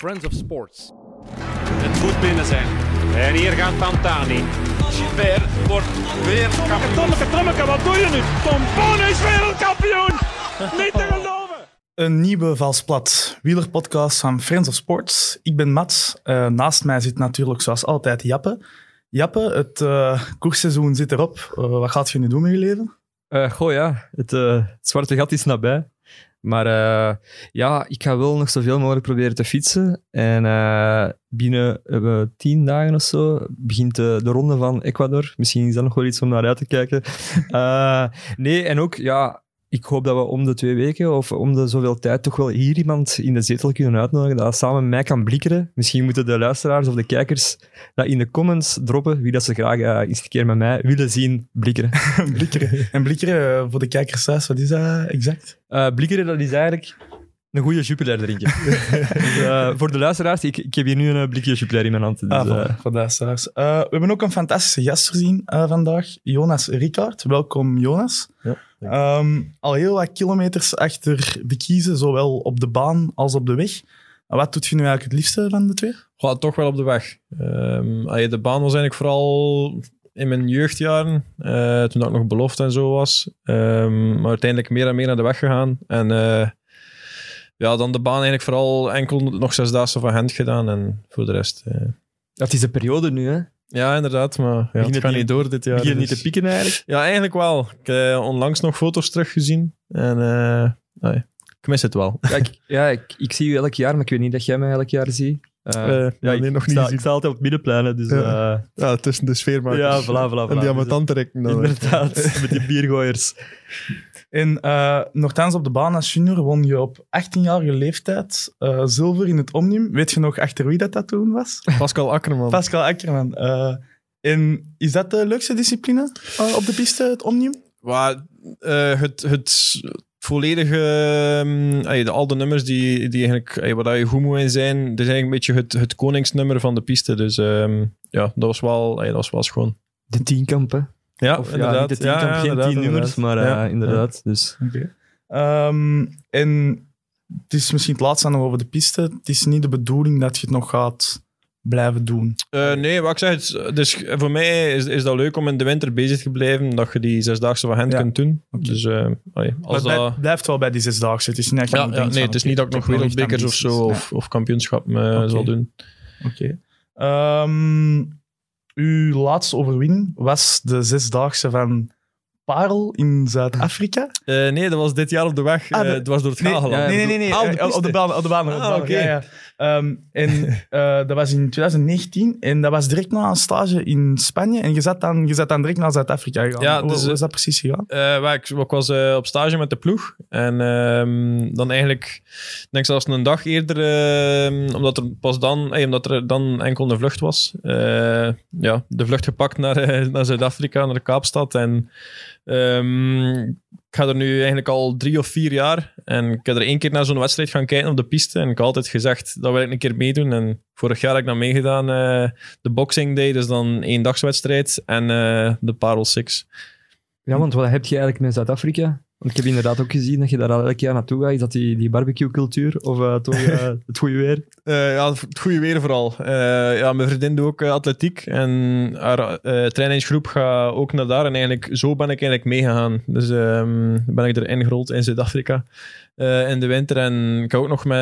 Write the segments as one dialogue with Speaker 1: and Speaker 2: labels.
Speaker 1: Friends of Sports.
Speaker 2: Het moet binnen zijn. En hier gaat Pantani. Gilbert wordt weer kampioen.
Speaker 3: Tommeke, Tommeke, wat doe je nu? Tom Boon is wereldkampioen! Niet te geloven!
Speaker 4: Een nieuwe Valsplat wielerpodcast van Friends of Sports. Ik ben Mats. Eh, naast mij zit natuurlijk zoals altijd Jappe. Jappe, het eh koersseizoen zit erop. Eh, wat gaat je nu doen met je leven?
Speaker 5: Eh, goh, ja. Het, eh, het zwarte gat is nabij. Maar eh, ja, ik ga wel nog zoveel mogelijk proberen te fietsen. En eh, binnen eh, tien dagen of zo begint eh, de, de ronde van Ecuador. Misschien is dat nog wel iets om naar uit te kijken. Eh, nee, en ook, ja, ik hoop dat we om de twee weken of om de zoveel tijd toch wel hier iemand in de zetel kunnen uitnodigen dat samen met mij kan blikkeren. Misschien moeten de luisteraars of de kijkers dat in de comments droppen, wie dat ze graag eh, eens een keer met mij willen zien blikkeren.
Speaker 4: blikkeren. En blikkeren, eh, voor de kijkers thuis, wat is dat exact?
Speaker 5: Eh, blikkeren, dat is eigenlijk een goede Jupiler drinken. Dus, eh, voor de luisteraars, ik, ik heb hier nu een eh, blikje Jupiler in mijn hand. Dus,
Speaker 4: Ah,
Speaker 5: eh,
Speaker 4: voilà, voor de luisteraars. Eh, we hebben ook een fantastische gast gezien vandaag, Jonas Ricard. Welkom, Jonas.
Speaker 6: Ja, dank
Speaker 4: Ehm, al heel wat kilometers achter de kiezen, zowel op de baan als op de weg. En Wat doet je nu eigenlijk het liefste van de twee?
Speaker 6: Goh, toch wel op de weg. Ehm, allee, de baan was eigenlijk vooral in mijn jeugdjaren, eh, toen dat ik nog belofte en zo was. Ehm, maar uiteindelijk meer en meer naar de weg gegaan. En eh, ja, dan de baan eigenlijk vooral enkel nog zesdaagse van Gent gedaan en voor de rest. eh.
Speaker 5: dat is een periode nu, hè?
Speaker 6: Ja, inderdaad, maar ja,
Speaker 5: Begin
Speaker 6: het
Speaker 5: het
Speaker 6: gaat
Speaker 5: niet-
Speaker 6: niet door dit jaar.
Speaker 5: Begin je niet
Speaker 6: dus-
Speaker 5: te pieken eigenlijk?
Speaker 6: Ja, eigenlijk wel. Ik heb onlangs nog foto's teruggezien en eh, nee, ik mis het wel.
Speaker 5: Ja, ik, ja ik, ik zie u elk jaar, maar ik weet niet dat jij mij elk jaar ziet. Eh,
Speaker 6: Eh, ja,
Speaker 5: ik,
Speaker 6: nee, nog
Speaker 5: ik
Speaker 6: niet
Speaker 5: sta,
Speaker 6: gezien.
Speaker 5: ik sta altijd op het middenplein, hè, dus... eh
Speaker 6: Ja. Ja, tussen de sfeermakers
Speaker 5: Ja, voilà, voilà,
Speaker 6: en
Speaker 5: voilà.
Speaker 6: die amatantrekken.
Speaker 5: eh,
Speaker 6: dan, hè.
Speaker 5: Inderdaad, met die biergooiers.
Speaker 4: En eh nogthans op de baan als junior won je op 18-jarige leeftijd eh, zilver in het Omnium. Weet je nog achter wie dat, dat toen was?
Speaker 6: Pascal Akkerman.
Speaker 4: Pascal Akkerman. Eh, en is dat de leukste discipline eh, op de piste, het Omnium?
Speaker 6: Maar, eh, het, het volledige, ehm, ey, de, al de nummers die, die eigenlijk, ey, waar je goed moet in zijn, dit is eigenlijk een beetje het, het koningsnummer van de piste. Dus ehm, ja, dat was, wel, ey, dat was wel schoon.
Speaker 5: De tienkampen.
Speaker 6: Ja,
Speaker 5: Of ja, niet de tienkamp,
Speaker 6: Ja, ja,
Speaker 5: geen
Speaker 6: inderdaad,
Speaker 5: tien nummers, maar eh,
Speaker 6: Ja,
Speaker 5: inderdaad. Dus.
Speaker 4: Ehm, en het is misschien het laatste nog over de piste. Het is niet de bedoeling dat je het nog gaat blijven doen.
Speaker 6: Eh, nee, wat ik zeg, het is- dus voor mij is, is dat leuk om in de winter bezig te blijven, dat je die zesdaagse van hen
Speaker 4: Ja.
Speaker 6: kunt doen.
Speaker 4: Oké.
Speaker 6: Dus eh, ey, als
Speaker 4: maar het
Speaker 6: dat...
Speaker 4: blijft- blijft wel bij die zesdaagse. Het is niet, dat je
Speaker 6: Ja,
Speaker 4: nu
Speaker 6: ja,
Speaker 4: denkt
Speaker 6: nee,
Speaker 4: van,
Speaker 6: het is
Speaker 4: oké,
Speaker 6: niet dat ik
Speaker 4: ik
Speaker 6: nog
Speaker 4: heb nog echt
Speaker 6: wereldbekers of zo
Speaker 4: ambities.
Speaker 6: of, of kampioenschap eh,
Speaker 4: Oké.
Speaker 6: zal doen.
Speaker 4: Oké. Ehm, uw laatste overwinning was de zesdaagse van Parel in Zuid-Afrika.
Speaker 6: Eh, nee, dat was dit jaar op de weg.
Speaker 4: Ah,
Speaker 6: Eh,
Speaker 4: de-
Speaker 6: het was door het Gageland.
Speaker 5: ja,
Speaker 4: nee, nee, nee. nee.
Speaker 6: Ah, op de
Speaker 4: eh, op, de
Speaker 6: piste.
Speaker 4: baan. Op de baan, op de
Speaker 6: Ah,
Speaker 4: baan,
Speaker 6: oké.
Speaker 4: ja, ja. Ehm, en eh, dat was in 2019 en dat was direct na een stage in Spanje. En je zat dan, je zat dan direct naar Zuid-Afrika gegaan.
Speaker 6: Ja,
Speaker 4: Hoe-
Speaker 6: dus,
Speaker 4: hoe
Speaker 6: eh,
Speaker 4: is dat precies gegaan?
Speaker 6: Eh, waar ik, ik was eh, op stage met de ploeg. En ehm, dan eigenlijk, ik denk zelfs een dag eerder, ehm, omdat er pas dan, eh, omdat er dan enkel een vlucht was. Eh, ja, de vlucht gepakt naar, eh, naar Zuid-Afrika, naar de Kaapstad. En ehm, ik ga er nu eigenlijk al drie of vier jaar. En ik heb er één keer naar zo'n wedstrijd gaan kijken op de piste. En ik had altijd gezegd, dat wil ik een keer meedoen. En vorig jaar heb ik dan meegedaan, eh, de Boxing Day, dus dan één dagswedstrijd. En eh, de Parel Six.
Speaker 5: Ja, want wat heb je eigenlijk met Zuid-Afrika? Want ik heb inderdaad ook gezien dat je daar al elk jaar naartoe gaat. Is dat die, die barbecue-cultuur of eh, toch eh, het goede weer?
Speaker 6: Eh, ja, het goede weer vooral. Eh, ja, mijn vriendin doet ook eh, atletiek en haar eh trainingsgroep gaat ook naar daar. En eigenlijk, zo ben ik eigenlijk meegegaan. Dus ehm, ben ik er ingerold in Zuid-Afrika eh, in de winter. En ik heb ook nog met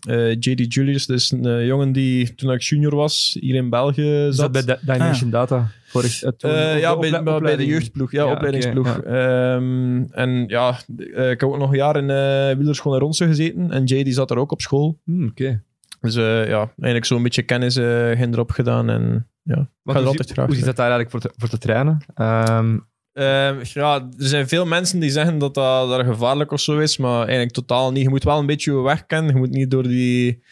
Speaker 6: eh, JD Julius, dus een eh, jongen die toen ik junior was hier in België zat.
Speaker 5: Is dat bij Di- Dimension Data? Vorig, eh, toen-
Speaker 6: Eh,
Speaker 5: of de
Speaker 6: ja, bij,
Speaker 5: ople-
Speaker 6: maar bij de
Speaker 5: opleiding?
Speaker 6: jeugdploeg. Ja,
Speaker 5: Ja,
Speaker 6: opleidingsploeg.
Speaker 5: oké,
Speaker 6: Ehm, en ja, eh, ik heb ook nog een jaar in eh wielerschool in Ronsen gezeten. En JD zat er ook op school.
Speaker 5: Hmm, Oké.
Speaker 6: Dus eh, ja, eigenlijk zo'n beetje kennis eh ging erop gedaan. En ja, ik
Speaker 5: Want
Speaker 6: ga er
Speaker 5: hoe
Speaker 6: altijd
Speaker 5: zi-
Speaker 6: graag
Speaker 5: Hoe zit
Speaker 6: terug.
Speaker 5: dat daar eigenlijk voor te, voor te trainen? Ehm,
Speaker 6: Eh, ja, er zijn veel mensen die zeggen dat dat daar gevaarlijk of zo is, maar eigenlijk totaal niet. Je moet wel een beetje je weg kennen. Je moet niet door die,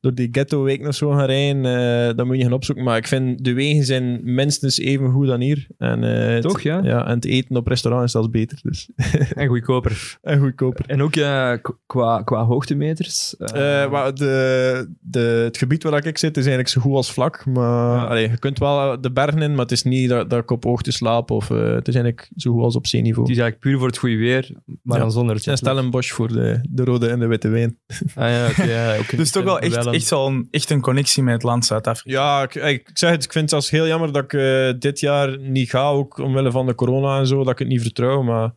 Speaker 6: door die ghetto-weken of zo gaan rijden. eh dat moet je gaan opzoeken. Maar ik vind, de wegen zijn minstens even goed dan hier. En, eh, het-
Speaker 5: Toch, ja?
Speaker 6: Ja, en het eten op restaurant is zelfs beter. Dus.
Speaker 5: en goedkoper.
Speaker 6: En goedkoper.
Speaker 5: En ook eh, k- qua, qua hoogtemeters. eh,
Speaker 6: Eh, maar de, de, het gebied waar ik zit is eigenlijk zo goed als vlak. Maar
Speaker 5: Ja.
Speaker 6: allee, je kunt wel de bergen in, maar het is niet dat, dat ik op hoogte slaap. Of, eh, het is eigenlijk zo goed als op
Speaker 5: het
Speaker 6: zeeniveau.
Speaker 5: is eigenlijk puur voor het goede weer, maar
Speaker 6: Ja.
Speaker 5: dan zonder het
Speaker 6: Het is een Stellenbosch voor de, de rode en de witte wijn.
Speaker 5: Ah ja, oké. ja, oké.
Speaker 4: Dus toch wel echt,
Speaker 5: Wel
Speaker 6: gedaan.
Speaker 4: echt wel een, echt een connectie met het land Zuid-Afrika.
Speaker 6: Ja, ik, ik zeg het, ik vind het zelfs heel jammer dat ik eh, dit jaar niet ga, ook omwille van de corona en zo, dat ik het niet vertrouw. Maar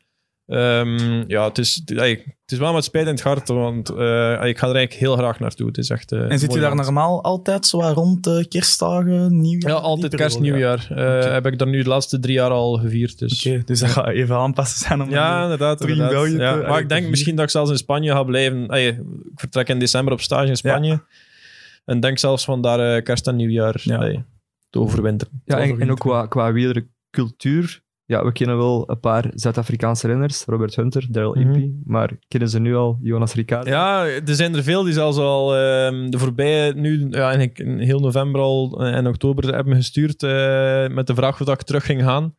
Speaker 6: ehm, ja, het is, het, ey, het is wel met spijt in het hart, want eh, ey, ik ga er eigenlijk heel graag naartoe. Het is echt, eh,
Speaker 4: En zit
Speaker 6: mooi
Speaker 4: je daar
Speaker 6: land.
Speaker 4: normaal altijd zo wat rond de kerstdagen, nieuwjaar?
Speaker 6: Ja,
Speaker 4: die
Speaker 6: altijd
Speaker 4: periode?
Speaker 6: kerst, nieuwjaar. Eh, Heb ik daar nu de laatste drie jaar al gevierd. Dus.
Speaker 4: Oké, dus dat gaat even aanpassen zijn om...
Speaker 6: Ja, inderdaad.
Speaker 4: Terug in
Speaker 6: inderdaad.
Speaker 4: België te-
Speaker 6: Ja,
Speaker 4: eigenlijk
Speaker 6: maar
Speaker 4: te
Speaker 6: ik denk
Speaker 4: vieren.
Speaker 6: misschien dat ik zelfs in Spanje ga blijven. Ey, ik vertrek in december op stage in Spanje. En denk zelfs van daar eh, kerst en nieuwjaar
Speaker 4: Ja.
Speaker 6: ey, te overwinteren.
Speaker 5: Ja, en, en
Speaker 4: overwinteren.
Speaker 5: ook qua, qua wielercultuur. Ja, we kennen wel een paar Zuid-Afrikaanse renners. Robert Hunter, Daryl
Speaker 6: Mhm.
Speaker 5: Impey. Maar kennen ze nu al Jonas Ricard?
Speaker 6: Ja, er zijn er veel die zelfs al ehm, de voorbije, nu ja, eigenlijk in heel november al eh, en oktober hebben me gestuurd eh, met de vraag of dat ik terug ging gaan.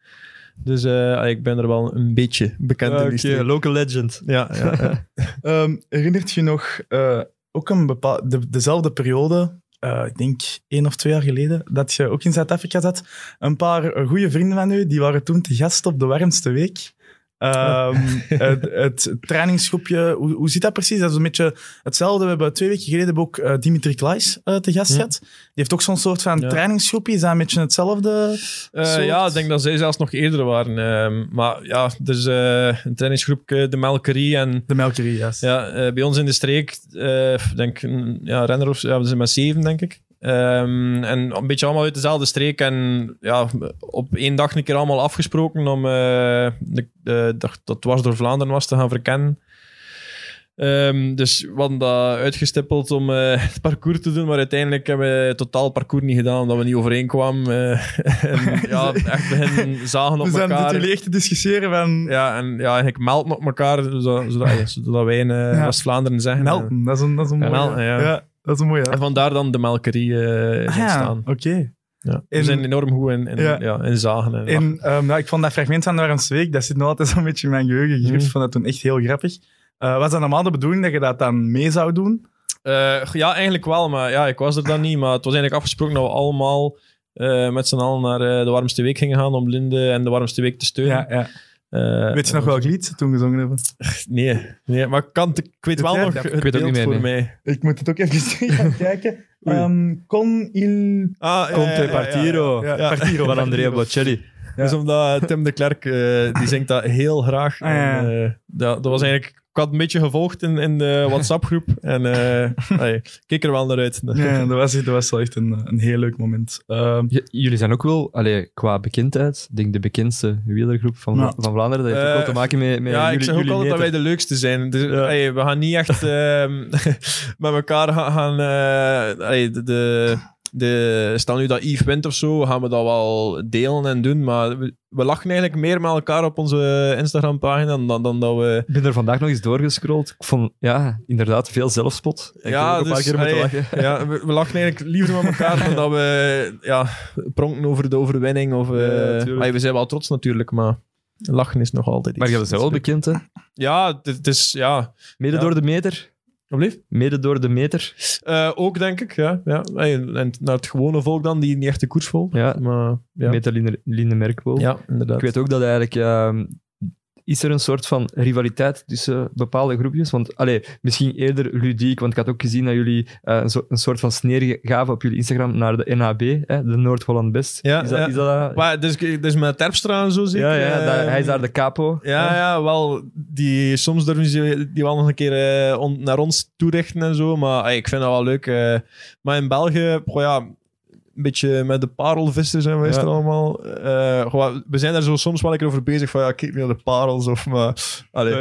Speaker 6: Dus eh, ik ben er wel een beetje bekend in die streek.
Speaker 5: local legend.
Speaker 6: Ja, ja, ja.
Speaker 4: Ehm, herinnert je nog eh, ook een bepaal- de, dezelfde periode, eh, ik denk één of twee jaar geleden, dat je ook in Zuid-Afrika zat? Een paar eh, goede vrienden van u, die waren toen te gast op de warmste week. Ehm, het, het trainingsgroepje, hoe, hoe zit dat precies? Dat is een beetje hetzelfde. We hebben twee weken geleden hebben we ook eh, Dimitri Klaes eh, te gast
Speaker 6: Hm.
Speaker 4: gehad. Die heeft ook zo'n soort van
Speaker 6: Ja.
Speaker 4: trainingsgroepje. Is dat een beetje hetzelfde?
Speaker 6: Eh,
Speaker 4: soort?
Speaker 6: ja, ik denk dat zij zelfs nog eerder waren. ehm, maar ja, dus eh een trainingsgroepje, de Melkerie en
Speaker 4: De Melkerie, juist.
Speaker 6: Ja, eh, bij ons in de streek, eh, denk een, ja, renner of ja, we zijn met zeven, denk ik. Ehm, en een beetje allemaal uit dezelfde streek. En ja, op één dag een keer allemaal afgesproken om eh, de, de, dag dat dwars door Vlaanderen was te gaan verkennen. Ehm, dus we hadden dat uitgestippeld om eh, het parcours te doen, maar uiteindelijk hebben we het totaal parcours niet gedaan, omdat we niet overeenkwamen. eh, en ja, echt begin zagen op
Speaker 4: Dus dan
Speaker 6: elkaar.
Speaker 4: zitten jullie echt te discussiëren van...
Speaker 6: Ja, en ja, eigenlijk melden op elkaar, zodat, zodat, ja, zodat wij in eh,
Speaker 4: Ja.
Speaker 6: West-Vlaanderen zeggen.
Speaker 4: Melten, dat is een, dat is een
Speaker 6: Ja,
Speaker 4: mooie.
Speaker 6: melten, ja.
Speaker 4: dat is een mooie.
Speaker 6: eh. En vandaar dan de melkerie eh, is
Speaker 4: Ah, ja,
Speaker 6: ontstaan.
Speaker 4: oké.
Speaker 6: Ja. We
Speaker 4: En-
Speaker 6: zijn enorm goed in, in,
Speaker 4: Ja.
Speaker 6: ja. in zagen. En,
Speaker 4: En ehm, nou, ik vond dat fragment van de Warmste Week, dat zit nog altijd zo'n beetje in mijn geheugen gegrift. Ik vond dat toen echt heel grappig. Eh, was dat normaal de bedoeling dat je dat dan mee zou doen?
Speaker 6: Eh, ja, eigenlijk wel, maar ja, ik was er dan niet. Maar het was eigenlijk afgesproken dat we allemaal eh, met z'n allen naar eh, de warmste week gingen gaan om Linde en de warmste week te steunen.
Speaker 4: Ja, ja.
Speaker 6: Eh,
Speaker 4: Weet je nog welk lied ze toen gezongen hebben?
Speaker 6: Nee, nee maar ik, kan, het- ik weet wel
Speaker 4: jij?
Speaker 6: nog
Speaker 4: Ik
Speaker 6: het
Speaker 5: weet ook
Speaker 6: beeld
Speaker 5: niet meer,
Speaker 6: voor
Speaker 5: nee.
Speaker 6: mij.
Speaker 4: Ik moet het ook even gaan kijken. Ehm con il...
Speaker 6: Ah,
Speaker 5: Conte Partiro.
Speaker 4: Ja, Partiro,
Speaker 5: Van
Speaker 4: Partiro.
Speaker 5: Andrea Bocelli.
Speaker 4: Ja.
Speaker 6: Dus omdat Tim de Klerk, eh, die zingt dat heel graag.
Speaker 4: Ah, ja.
Speaker 6: En, eh, dat, dat was eigenlijk... Ik had een beetje gevolgd in, in de WhatsApp-groep. En eh allee, ik keek er wel naar uit.
Speaker 4: Ja, dat was, dat was wel echt een, een heel leuk moment. Ehm,
Speaker 5: J- jullie zijn ook wel, allee, qua bekendheid, ik denk de bekendste wielergroep van,
Speaker 4: Ja.
Speaker 5: van Vlaanderen. Dat heeft ook
Speaker 6: Eh,
Speaker 5: wel te maken met, met
Speaker 6: ja,
Speaker 5: jullie,
Speaker 6: ik zeg ook
Speaker 5: jullie
Speaker 6: altijd dat wij
Speaker 5: meter.
Speaker 6: de leukste zijn. Dus, allee, we gaan niet echt ehm, met elkaar gaan... gaan eh, allee, de, de, de- stel nu dat Yves wint of zo, gaan we dat wel delen en doen. Maar we, we lachen eigenlijk meer met elkaar op onze Instagram-pagina dan, dan dat we...
Speaker 5: Ik ben er vandaag nog eens doorgescrolld. Ik vond, ja, inderdaad, veel zelfspot. Ik heb ook een paar keer moeten
Speaker 6: allee,
Speaker 5: lachen.
Speaker 6: Ja, we, we lachen eigenlijk liever met elkaar dan dat we ja, pronken over de overwinning. Of, eh,
Speaker 5: tuurlijk.
Speaker 6: allee, we zijn wel trots natuurlijk, maar lachen is nog altijd iets.
Speaker 5: Maar je bent wel bekend, hè?
Speaker 6: Ja, het- het is... Ja,
Speaker 5: Mede
Speaker 6: Ja.
Speaker 5: door de meter.
Speaker 6: alblieft.
Speaker 5: Mede door de meter.
Speaker 6: Eh, ook, denk ik, ja. ja. Allee, En naar het gewone volk dan, die niet echt de koers volgt.
Speaker 5: Ja.
Speaker 6: Maar, ja.
Speaker 5: Meter Linde, Linde Merkwol.
Speaker 6: ja, inderdaad.
Speaker 5: Ik weet ook dat eigenlijk... ehm, is er een soort van rivaliteit tussen bepaalde groepjes? Want allee, misschien eerder ludiek, want ik had ook gezien dat jullie eh, een, soort, een soort van sneer gaven op jullie Instagram naar de NHB, hè, de Noord-Holland Best.
Speaker 6: Ja,
Speaker 5: is dat,
Speaker 6: ja.
Speaker 5: Is dat
Speaker 6: Maar, dus, dus met Terpstra en zo zeker.
Speaker 5: ja, ja daar-
Speaker 6: eh,
Speaker 5: hij is daar de capo.
Speaker 6: Ja, ja, wel. Die, soms durven ze die wel nog een keer eh, on- naar ons toerichten en zo. Maar ey, ik vind dat wel leuk. eh. maar in België, goh, ja, een beetje met de parelvissers en wat is
Speaker 5: Ja.
Speaker 6: er allemaal. Eh, goh, ja, we zijn daar zo soms wel een keer over bezig. Van ja, kijk niet naar de parels. Of, maar, allee.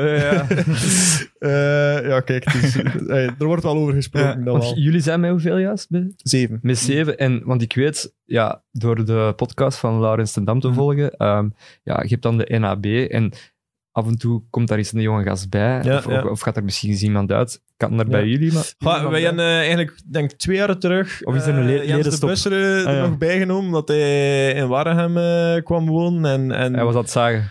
Speaker 6: Eh, ja, kijk. het is- ey, er wordt wel over gesproken. dat
Speaker 5: Want
Speaker 6: wel.
Speaker 5: jullie zijn met hoeveel juist? Bij?
Speaker 6: Zeven.
Speaker 5: Met zeven. En, want ik weet, ja, door de podcast van Laurens ten Dam te volgen, ehm, ja, je hebt dan de NAB en af en toe komt daar eens een jonge gast bij.
Speaker 6: Ja,
Speaker 5: of,
Speaker 6: ja.
Speaker 5: of- of gaat er misschien eens iemand uit. Kan er bij
Speaker 6: Ja.
Speaker 5: jullie, maar...
Speaker 6: Goh,
Speaker 5: iemand
Speaker 6: wij
Speaker 5: bij?
Speaker 6: hebben eh, eigenlijk, denk ik, twee jaar terug.
Speaker 5: Of is er een
Speaker 6: eh,
Speaker 5: le-
Speaker 6: Jens de
Speaker 5: ledenstop?
Speaker 6: Busseren
Speaker 5: Ah,
Speaker 6: er
Speaker 5: ja.
Speaker 6: nog bijgenomen. Omdat hij in Warrenham eh, kwam wonen. En, en
Speaker 5: Hij was aan het zagen.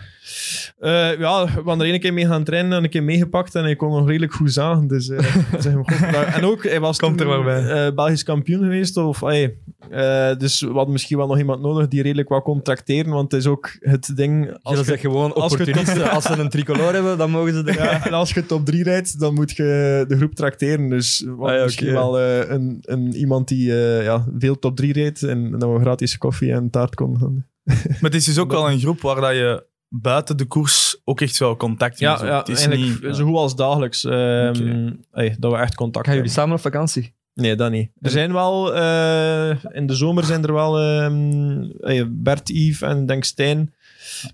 Speaker 6: Eh, ja, we hadden er één keer mee gaan trainen en een keer meegepakt en hij kon nog redelijk goed zagen. Dus, eh, zeg maar, goed. Maar- en ook, hij was
Speaker 4: Komt
Speaker 6: toen,
Speaker 4: er maar bij.
Speaker 6: eh, Belgisch kampioen geweest. Of, eh, Eh, dus we hadden misschien wel nog iemand nodig die redelijk wou contracteren, want het is ook het ding... Als
Speaker 5: Als
Speaker 6: je-
Speaker 5: je, gewoon
Speaker 6: als je-
Speaker 5: opportunisten. Als ze een tricolore hebben, dan mogen ze er...
Speaker 6: ja, en als je top 3 rijdt, dan moet je de groep tracteren. Dus we hadden
Speaker 5: Ah ja,
Speaker 6: misschien
Speaker 5: oké.
Speaker 6: wel eh, een, een, iemand die eh, ja, veel top 3 rijdt en dan we gratis koffie en taart konden gaan.
Speaker 4: Maar het is dus ook wel een groep waar dat je buiten de koers ook echt wel contact mee
Speaker 6: Ja,
Speaker 4: zoekt.
Speaker 6: ja
Speaker 4: Het is
Speaker 6: eigenlijk
Speaker 4: niet-
Speaker 6: zo goed als dagelijks. ehm, hey, dat we echt contact
Speaker 5: Gaan jullie
Speaker 6: hebben.
Speaker 5: samen op vakantie?
Speaker 6: Nee, dat niet. Er zijn wel... eh, in de zomer zijn er wel ehm, hey, Bert, Yves en denk Stijn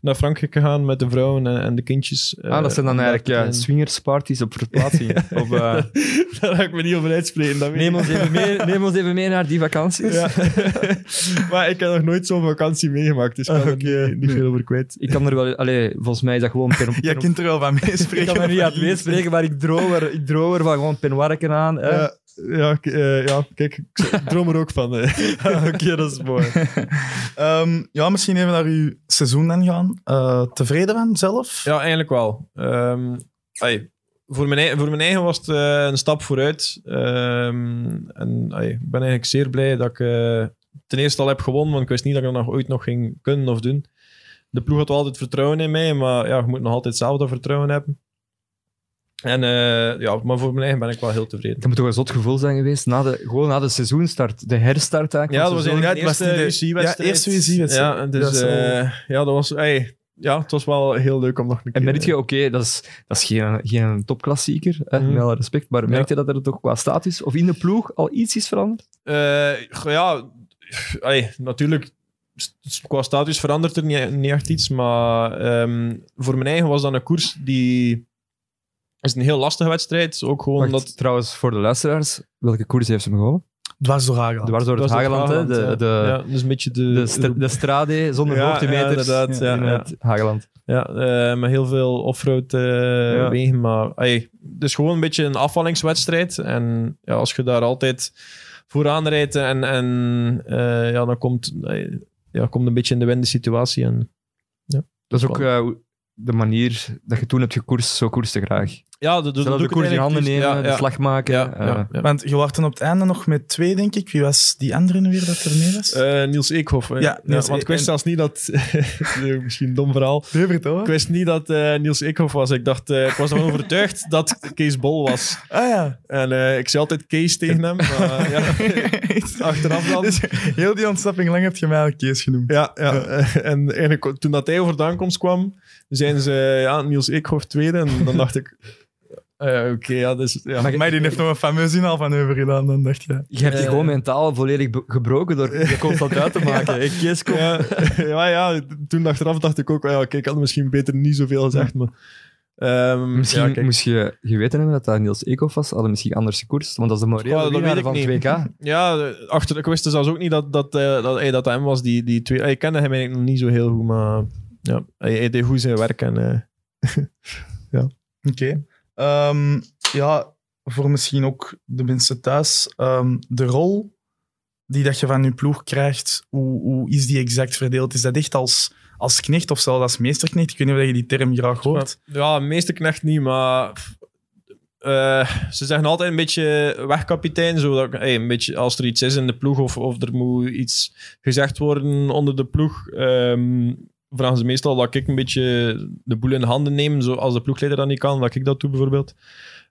Speaker 6: naar Frankrijk gegaan met de vrouwen en, en de kindjes. eh,
Speaker 5: ah, dat zijn dan eigenlijk ja,
Speaker 6: dat,
Speaker 5: swingersparties op verplaatsing. op, eh,
Speaker 6: daar ga ik me niet over uitspreken. Dat weet ik.
Speaker 5: neem, ons even mee, neem ons even mee naar die vakanties.
Speaker 6: Ja. maar ik heb nog nooit zo'n vakantie meegemaakt, dus ik kan
Speaker 5: Ah,
Speaker 6: er niet- niet, veel over kwijt.
Speaker 5: Ik kan er wel... Allee, volgens mij is dat gewoon... Per,
Speaker 4: Jij kunt er wel van meespreken.
Speaker 5: ik kan er niet uit meespreken, maar ik droom er, ik droom er van gewoon penwarken aan. hè.
Speaker 6: Ja, ja, k- eh, ja, kijk, ik droom er ook van. eh.
Speaker 4: Oké, dat is mooi. Ehm, ja, misschien even naar uw seizoen dan gaan. Eh, tevreden van zelf?
Speaker 6: Ja, eigenlijk wel. Ehm, ai, voor, mijn, ei- voor mijn eigen was het eh, een stap vooruit. Ehm, en ai, ik ben eigenlijk zeer blij dat ik eh, ten eerste al heb gewonnen, want ik wist niet dat ik dat nog ooit nog ging kunnen of doen. De ploeg had wel altijd vertrouwen in mij, maar ja, je moet nog altijd zelf dat vertrouwen hebben. En eh, ja, maar voor mijn eigen ben ik wel heel tevreden.
Speaker 5: Dat moet toch een zot gevoel zijn geweest, na de, gewoon na de seizoenstart, de herstart eigenlijk.
Speaker 6: Ja,
Speaker 5: van
Speaker 6: dat was
Speaker 5: het
Speaker 6: eigenlijk
Speaker 4: Ja, het
Speaker 6: de
Speaker 4: was
Speaker 6: eerste
Speaker 4: die de-
Speaker 6: UC-wedstrijd.
Speaker 4: ja, eerste UC-wedstrijd.
Speaker 6: Ja, en dus,
Speaker 4: Dat is wel-
Speaker 6: eh, ja, dat was... ey, ja, het was wel heel leuk om nog een keer...
Speaker 5: En merk je, oké, dat, is, dat is geen, geen topklassieker, hè,
Speaker 6: Mhm.
Speaker 5: met alle respect, maar merk je dat er toch qua status of in de ploeg al iets is veranderd?
Speaker 6: Eh, goh, ja, ey, natuurlijk, s- s- qua status verandert er niet, niet echt iets, maar ehm, voor mijn eigen was dat een koers die... is een heel lastige wedstrijd, ook gewoon
Speaker 5: Wacht,
Speaker 6: omdat...
Speaker 5: trouwens, voor de luisteraars, welke koers heeft ze hem gewonnen?
Speaker 4: Dwars door Hageland.
Speaker 5: De dwars door het
Speaker 6: dat was
Speaker 5: Hageland, hè,
Speaker 6: Hageland,
Speaker 5: de,
Speaker 6: ja.
Speaker 5: de,
Speaker 6: ja, dus een beetje de...
Speaker 5: de, st- de strade zonder
Speaker 6: Ja, ja,
Speaker 5: hoogtemeters
Speaker 6: inderdaad, ja,
Speaker 5: in
Speaker 6: ja.
Speaker 5: het Hageland.
Speaker 6: Ja, eh, met heel veel offroad eh,
Speaker 5: Ja.
Speaker 6: wegen. Maar ey, het is gewoon een beetje een afvallingswedstrijd. En ja, als je daar altijd vooraan rijdt en, en eh, ja, dan komt, ey, ja, komt een beetje in de wende situatie. En,
Speaker 5: Dat is ook eh, de manier dat je toen hebt gekoerst, zo koerste graag.
Speaker 6: ja, dat, dat
Speaker 5: Zelf de
Speaker 6: doe ik
Speaker 5: koers in
Speaker 6: eigenlijk
Speaker 5: handen nemen,
Speaker 6: liefst.
Speaker 5: de slag maken.
Speaker 6: Ja,
Speaker 5: eh,
Speaker 6: ja, ja.
Speaker 4: Want je was dan op het einde nog met twee, denk ik. Wie was die andere nu weer dat er mee was?
Speaker 6: Eh, Niels Eekhoff. eh.
Speaker 4: Ja, Niels
Speaker 6: want ik wist
Speaker 4: en-
Speaker 6: zelfs niet dat... misschien een dom verhaal.
Speaker 4: Hubert, hoor.
Speaker 6: Ik wist niet dat eh, Niels Eekhoff was. Ik dacht, eh, ik was ervan overtuigd dat Kees Bol was.
Speaker 4: Ah ja.
Speaker 6: En eh, ik zei altijd Kees tegen hem. Maar, ja, achteraf dan...
Speaker 4: Dus heel die ontsnapping lang heb je mij al Kees genoemd.
Speaker 6: Ja, ja. en eigenlijk, toen dat hij over de aankomst kwam, zijn ze ja, Niels Eekhoff tweede. En dan dacht ik, eh, oké, ja, dus, ja.
Speaker 5: Maar je-
Speaker 4: Maar die heeft nog een fameuze inhaal van Hubert gedaan, dan dacht je.
Speaker 5: Je hebt je
Speaker 6: Eh.
Speaker 5: gewoon mentaal volledig be- gebroken door je constant uit te maken. Ik kies kom.
Speaker 6: ja, ja, ja, toen achteraf dacht ik ook, ja, oké, ik had misschien beter niet zoveel gezegd, maar... ehm,
Speaker 5: Misschien
Speaker 6: ja, kijk.
Speaker 5: moest je geweten hebben dat dat Niels Eekhoff was, hadden misschien anders gekoerst, want dat is de
Speaker 6: Ja,
Speaker 5: morele
Speaker 6: Oh, dat
Speaker 5: winnaar
Speaker 6: weet
Speaker 5: van
Speaker 6: ik
Speaker 5: het
Speaker 6: niet.
Speaker 5: WK.
Speaker 6: Ja, achter, ik wist zelfs ook niet dat dat, eh, dat, hey, dat dat hem was, die, die twee... Ik kende hem eigenlijk nog niet zo heel goed, maar ja, hij, hij deed goed zijn werk en... eh,
Speaker 4: Oké. Ehm, ja, voor misschien ook de mensen thuis. ehm, de rol die dat je van je ploeg krijgt, hoe, hoe is die exact verdeeld? Is dat echt als, als knecht of zelfs als meesterknecht? Ik weet niet of je die term graag hoort.
Speaker 6: Ja, meeste knecht niet, maar pff, eh, ze zeggen altijd een beetje wegkapitein. Zodat, ik- hey, een beetje, als er iets is in de ploeg of, of er moet iets gezegd worden onder de ploeg, ehm, vragen ze meestal dat ik een beetje de boel in handen neem. Zo, als de ploegleider dat niet kan, dat ik dat doe bijvoorbeeld.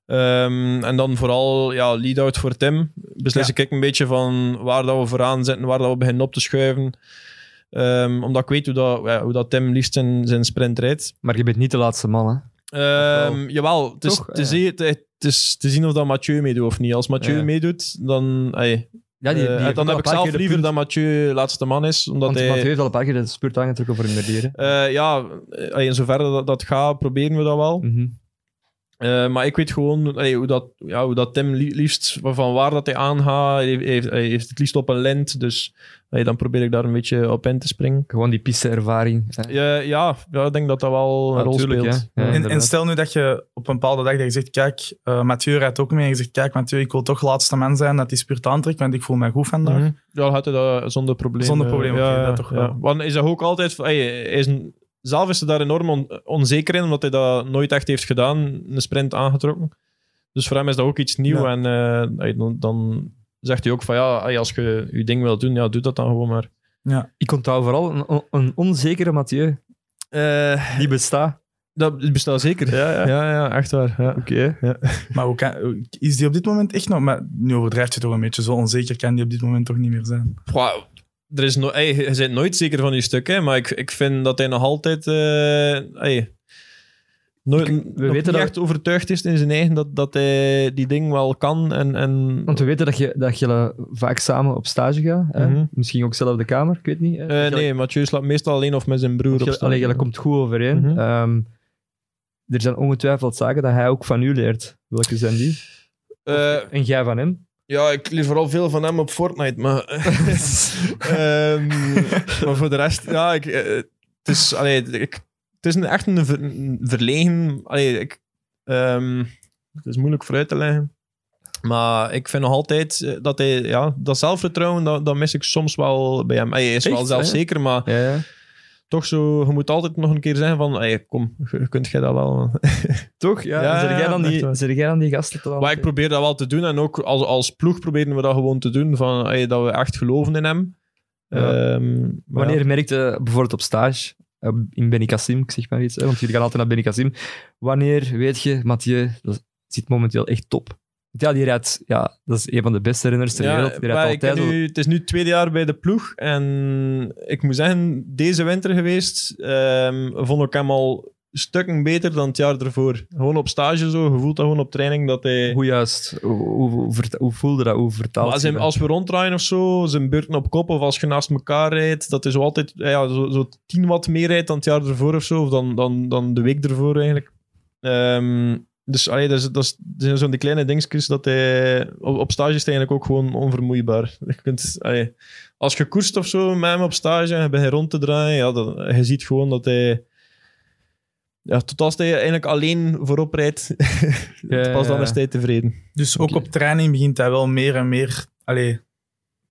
Speaker 6: Ehm, en dan vooral ja, lead-out voor Tim. Beslis ik een beetje van waar dat we vooraan zitten, waar dat we beginnen op te schuiven. Ehm, omdat ik weet hoe, dat, ja, hoe dat Tim liefst zijn, zijn sprint rijdt.
Speaker 5: Maar je bent niet de laatste man, hè?
Speaker 6: Ehm,
Speaker 5: Of wel?
Speaker 6: jawel, het is,
Speaker 5: Toch? Ah,
Speaker 6: te,
Speaker 5: Ja.
Speaker 6: zien, het is te zien of dat Mathieu meedoet of niet. Als Mathieu
Speaker 5: Ja.
Speaker 6: meedoet, dan, ey,
Speaker 5: Ja, die,
Speaker 6: eh,
Speaker 5: die
Speaker 6: dan heb ik zelf liever dat Mathieu laatste man is. Omdat
Speaker 5: Want
Speaker 6: hij,
Speaker 5: Mathieu heeft al een paar keer de spurt aangetrokken voor een dieren.
Speaker 6: eh, ja, ey, in zoverre dat, dat gaat, proberen we dat wel.
Speaker 5: Mm. Mhm.
Speaker 6: Eh, maar ik weet gewoon ey, hoe, dat, ja, hoe dat Tim li- liefst, van waar dat hij aangaat. Hij heeft, hij heeft het liefst op een lint, dus ey, dan probeer ik daar een beetje op in te springen.
Speaker 5: Gewoon die Eh, pisteervaring. hè.
Speaker 6: Ja, ja, ja, ik denk dat dat wel een
Speaker 5: Ja,
Speaker 6: rol
Speaker 5: tuurlijk,
Speaker 6: speelt.
Speaker 5: hè.
Speaker 4: en,
Speaker 5: Ja,
Speaker 4: en
Speaker 5: inderdaad.
Speaker 4: stel nu dat je op een bepaalde dag dat je zegt, kijk, eh, Mathieu rijdt ook mee. En je zegt, kijk, Mathieu, ik wil toch laatste man zijn dat die spurt aantrekt, want ik voel mij goed vandaag.
Speaker 6: Mhm. Ja, had hij dat zonder probleem.
Speaker 4: Zonder
Speaker 6: eh,
Speaker 4: probleem,
Speaker 6: ja,
Speaker 4: oké,
Speaker 6: ja,
Speaker 4: dat toch
Speaker 6: ja.
Speaker 4: wel.
Speaker 6: Want hij is ook altijd... van, hey, hij is een- zelf is hij daar enorm on- onzeker in, omdat hij dat nooit echt heeft gedaan. Een sprint aangetrokken. Dus voor hem is dat ook iets nieuws.
Speaker 4: Ja.
Speaker 6: En eh, hey, dan, dan zegt hij ook van ja, hey, als je je ding wilt doen, ja, doe dat dan gewoon maar.
Speaker 5: Ik onthoud vooral een, on- een onzekere Mathieu. die bestaat.
Speaker 6: Eh, dat bestaat zeker.
Speaker 5: Ja, ja.
Speaker 6: Ja, ja, echt waar. Ja.
Speaker 5: Oké. ja.
Speaker 4: Maar hoe kan- is die op dit moment echt nog... Maar nu overdrijft je toch een beetje. Zo onzeker kan die op dit moment toch niet meer zijn.
Speaker 6: Goh, er is no ey, je bent nooit zeker van je stuk, hè, maar ik, ik vind dat hij nog altijd. eh, ey, nooit, nog
Speaker 5: weten
Speaker 6: niet
Speaker 5: dat-
Speaker 6: echt overtuigd is in zijn eigen dat, dat hij die ding wel kan. En, en,
Speaker 5: Want we weten dat je, dat je vaak samen op stage gaat. Hè?
Speaker 6: Mhm.
Speaker 5: Misschien ook zelf op de kamer, ik weet niet. hè.
Speaker 6: Eh,
Speaker 5: Dat je-
Speaker 6: nee, Mathieu slaapt meestal alleen of met zijn broer op
Speaker 5: dat je-
Speaker 6: straat.
Speaker 5: allee, dat komt goed overeen.
Speaker 6: Mhm.
Speaker 5: Ehm, er zijn ongetwijfeld zaken dat hij ook van u leert. Welke zijn die?
Speaker 6: Eh,
Speaker 5: En jij van hem?
Speaker 6: Ja, ik leer vooral veel van hem op Fortnite, maar... Ehm, maar voor de rest, ja, ik, eh, het is, allee, ik, het is een, echt een, ver- een verlegen... Allee, ik, ehm, het is moeilijk vooruit te leggen. Maar ik vind nog altijd eh, dat hij... Ja, dat zelfvertrouwen, dat, dat mis ik soms wel bij hem. Hij is wel
Speaker 5: Echt,
Speaker 6: zelfzeker, maar
Speaker 5: Ja, ja.
Speaker 6: toch zo... Je moet altijd nog een keer zeggen van... Hey, kom, je- kunt jij dat wel...
Speaker 5: Toch? Ja,
Speaker 6: Ja,
Speaker 5: zijn, jij dan
Speaker 6: echt
Speaker 5: die,
Speaker 6: waar.
Speaker 5: zijn jij dan die gasten te laten-
Speaker 6: Maar ik probeer dat wel te doen. En ook als, als ploeg proberen we dat gewoon te doen. Van, hey, dat we echt geloven in hem.
Speaker 5: Ja.
Speaker 6: Ehm, maar
Speaker 5: Wanneer
Speaker 6: ja.
Speaker 5: merkte bijvoorbeeld op stage eh, in Benicassim, ik zeg maar iets, hè, want jullie gaan altijd naar Benicassim. Wanneer weet je, Mathieu, dat zit momenteel echt top? Want Ja, die rijdt, ja, dat is een van de beste renners ter
Speaker 6: Ja,
Speaker 5: wereld. Die
Speaker 6: maar
Speaker 5: rijdt
Speaker 6: ik ken
Speaker 5: altijd zo-
Speaker 6: nu, het is nu het tweede jaar bij de ploeg. En ik moet zeggen, deze winter geweest ehm, vond ik hem al stukken beter dan het jaar ervoor. Gewoon op stage zo. Je voelt dat gewoon op training dat hij...
Speaker 5: Hoe juist? Hoe, hoe, hoe verta- hoe voelde dat? Hoe vertaalt
Speaker 6: Maar als,
Speaker 5: je
Speaker 6: hij-
Speaker 5: dat?
Speaker 6: als we ronddraaien of zo, zijn beurten op kop of als je naast elkaar rijdt, dat is zo altijd ja, zo, zo 10 watt meer rijdt dan het jaar ervoor of zo, of dan, dan, dan de week ervoor eigenlijk. Ehm, dus allee, dat, is, dat, is, dat zijn zo'n die kleine dingetjes dat hij... Op, op stage is hij eigenlijk ook gewoon onvermoeibaar. Je kunt, allee, als je koerst of zo met hem op stage en je begint rond te draaien, ja, dan, je ziet gewoon dat hij... Ja, tot als hij eigenlijk alleen voorop rijdt,
Speaker 5: Ja,
Speaker 6: pas dan
Speaker 5: ja.
Speaker 6: is hij tevreden.
Speaker 4: Dus ook
Speaker 5: Oké.
Speaker 4: op training begint hij wel meer en meer allee,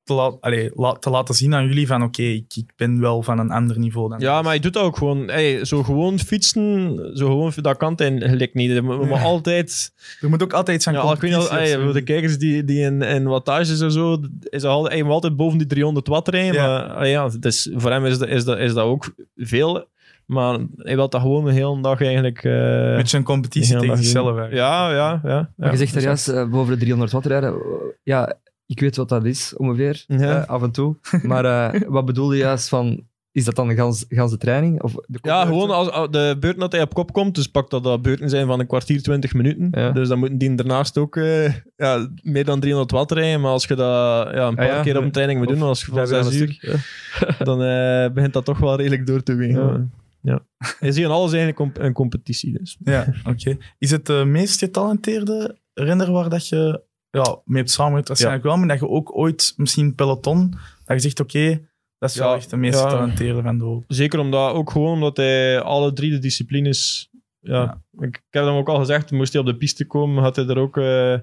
Speaker 4: te, la- allee, la- te laten zien aan jullie van oké, ik, ik ben wel van een ander niveau dan.
Speaker 6: Ja, maar hij doet dat ook gewoon. Hey, zo gewoon fietsen, zo gewoon, dat kan hij gelijk niet. We moeten
Speaker 4: Ja.
Speaker 6: altijd...
Speaker 4: Er moet ook altijd zijn
Speaker 6: Ja, al- ik weet niet,
Speaker 4: competitie
Speaker 6: hey,
Speaker 4: of zo.
Speaker 6: voor de kijkers die, die in, in wattages en zo, is dat altijd, hij moet altijd boven die 300 watt rijden.
Speaker 4: Ja.
Speaker 6: Maar ah ja, het is, voor hem is dat, is, dat, is dat ook veel. Maar hij wil dat gewoon de hele dag eigenlijk... eh,
Speaker 4: Met zijn
Speaker 6: de
Speaker 4: competitie
Speaker 6: hele
Speaker 4: tegen
Speaker 6: dag doen.
Speaker 4: zichzelf. eigenlijk.
Speaker 6: Ja, ja, ja.
Speaker 5: Maar
Speaker 6: ja. dus
Speaker 5: je zegt daar juist, eh, boven de 300 watt rijden. eh, Ja, ik weet wat dat is, ongeveer,
Speaker 6: Ja.
Speaker 5: eh, af en toe. Maar eh, wat bedoelde je juist van, is dat dan de gans, ganse training? Of de
Speaker 6: Ja, gewoon als, als de beurt dat hij op kop komt, dus pak dat dat beurten zijn van een kwartier, twintig minuten.
Speaker 5: Ja.
Speaker 6: Dus dan moeten die daarnaast ook eh, ja, meer dan 300 watt rijden. Maar als je dat ja, een paar
Speaker 5: Ah ja,
Speaker 6: keer op
Speaker 5: ja.
Speaker 6: een training moet
Speaker 5: Of
Speaker 6: doen, als je van
Speaker 5: vijf uur
Speaker 6: zes
Speaker 5: aan een
Speaker 6: uur, dan eh, begint dat toch wel redelijk door te wegen.
Speaker 5: Ja.
Speaker 6: Ja. Je ziet in alles eigenlijk comp- een competitie. Dus.
Speaker 4: Ja, oké. Is het de meest getalenteerde renner waar dat je ja, mee hebt samengewerkt? Waarschijnlijk wel, maar dat je ook ooit misschien peloton, dat je zegt oké, dat is wel
Speaker 6: Ja,
Speaker 4: echt de meest
Speaker 6: ja.
Speaker 4: getalenteerde van de hoop.
Speaker 6: Zeker omdat, ook gewoon omdat hij alle drie de disciplines... Ja, Ik, ik heb hem ook al gezegd, moest hij op de piste komen, had hij er ook... eh,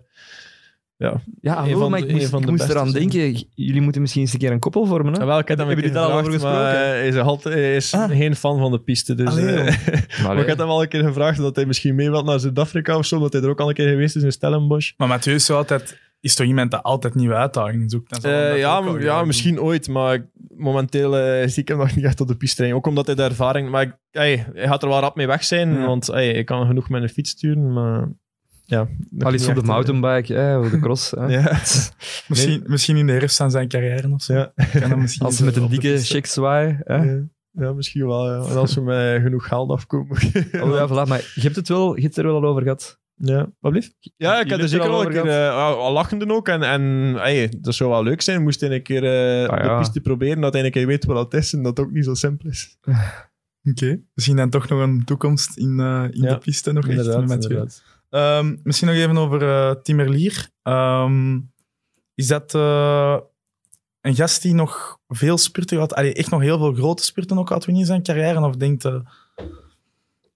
Speaker 5: Ja, hallo,
Speaker 6: Een van
Speaker 5: maar
Speaker 6: de-
Speaker 5: ik moest,
Speaker 6: een van
Speaker 5: ik
Speaker 6: de
Speaker 5: moest
Speaker 6: beste
Speaker 5: eraan
Speaker 6: zijn.
Speaker 5: denken, j- jullie moeten misschien eens een keer een koppel vormen. Hè?
Speaker 6: Ja, wel, ik heb hem een
Speaker 5: Hebben
Speaker 6: keer
Speaker 5: jullie daar al over
Speaker 6: gevraagd, maar
Speaker 5: gesproken?
Speaker 6: Hij is, altijd, hij is
Speaker 4: Ah.
Speaker 6: geen fan van de piste. Dus,
Speaker 4: Allee,
Speaker 6: eh,
Speaker 4: joh.
Speaker 5: Maar
Speaker 6: Maar ik had
Speaker 5: allee,
Speaker 6: hem al een keer gevraagd dat hij misschien mee wilt naar Zuid-Afrika of zo, omdat hij er ook al een keer geweest is in Stellenbosch.
Speaker 4: Maar Mathieu is, zo altijd, is toch iemand dat altijd nieuwe uitdagingen zoekt? Dan zal hem dat
Speaker 6: Eh, ja,
Speaker 4: ook wel
Speaker 6: m-
Speaker 4: graag
Speaker 6: ja,
Speaker 4: doen.
Speaker 6: misschien ooit, maar ik- momenteel eh, zie ik hem nog niet echt op de piste rijden. Ook omdat hij de ervaring... Maar ik- hey, hij gaat er wel rap mee weg zijn,
Speaker 4: Ja.
Speaker 6: want hey, ik kan genoeg met een fiets sturen, maar... Ja, nog
Speaker 5: al
Speaker 6: niet
Speaker 5: iets op de
Speaker 6: echt, eh,
Speaker 5: mountainbike, hè, of de cross. Hè.
Speaker 6: Ja.
Speaker 4: Misschien, misschien in de herfst van zijn carrière of zo.
Speaker 6: Ja.
Speaker 4: Kan dat misschien
Speaker 5: Als ze met
Speaker 4: zo
Speaker 5: een
Speaker 4: op de
Speaker 5: dikke
Speaker 4: piste.
Speaker 5: check zwaaien. Hè.
Speaker 6: Ja. Ja, misschien wel. Ja. En als we met genoeg geld afkomen.
Speaker 5: Oh ja, voilà, maar je hebt het wel, je hebt het er wel al over gehad.
Speaker 6: Ja, wat blieft? Ja, ik
Speaker 5: Jullie
Speaker 6: heb er
Speaker 5: hebben
Speaker 6: zeker
Speaker 5: het
Speaker 6: al
Speaker 5: er
Speaker 6: een keer
Speaker 5: al
Speaker 6: eh, al- al lachenden ook. En, en ey, dat zou wel leuk zijn. Moest hij een keer eh,
Speaker 5: Ah,
Speaker 6: op de
Speaker 5: ja.
Speaker 6: piste proberen, dat hij een keer weet wat het is en dat het ook niet zo simpel is.
Speaker 4: Oké, misschien dan toch nog een toekomst in, eh, in
Speaker 6: Ja,
Speaker 4: de piste nog echt met Mathieu.
Speaker 6: inderdaad.
Speaker 4: Ehm, misschien nog even over eh Timmerlier. Ehm, is dat eh, een gast die nog veel spurten had? Allee, echt nog heel veel grote spurten ook had in zijn carrière? Of denkt eh,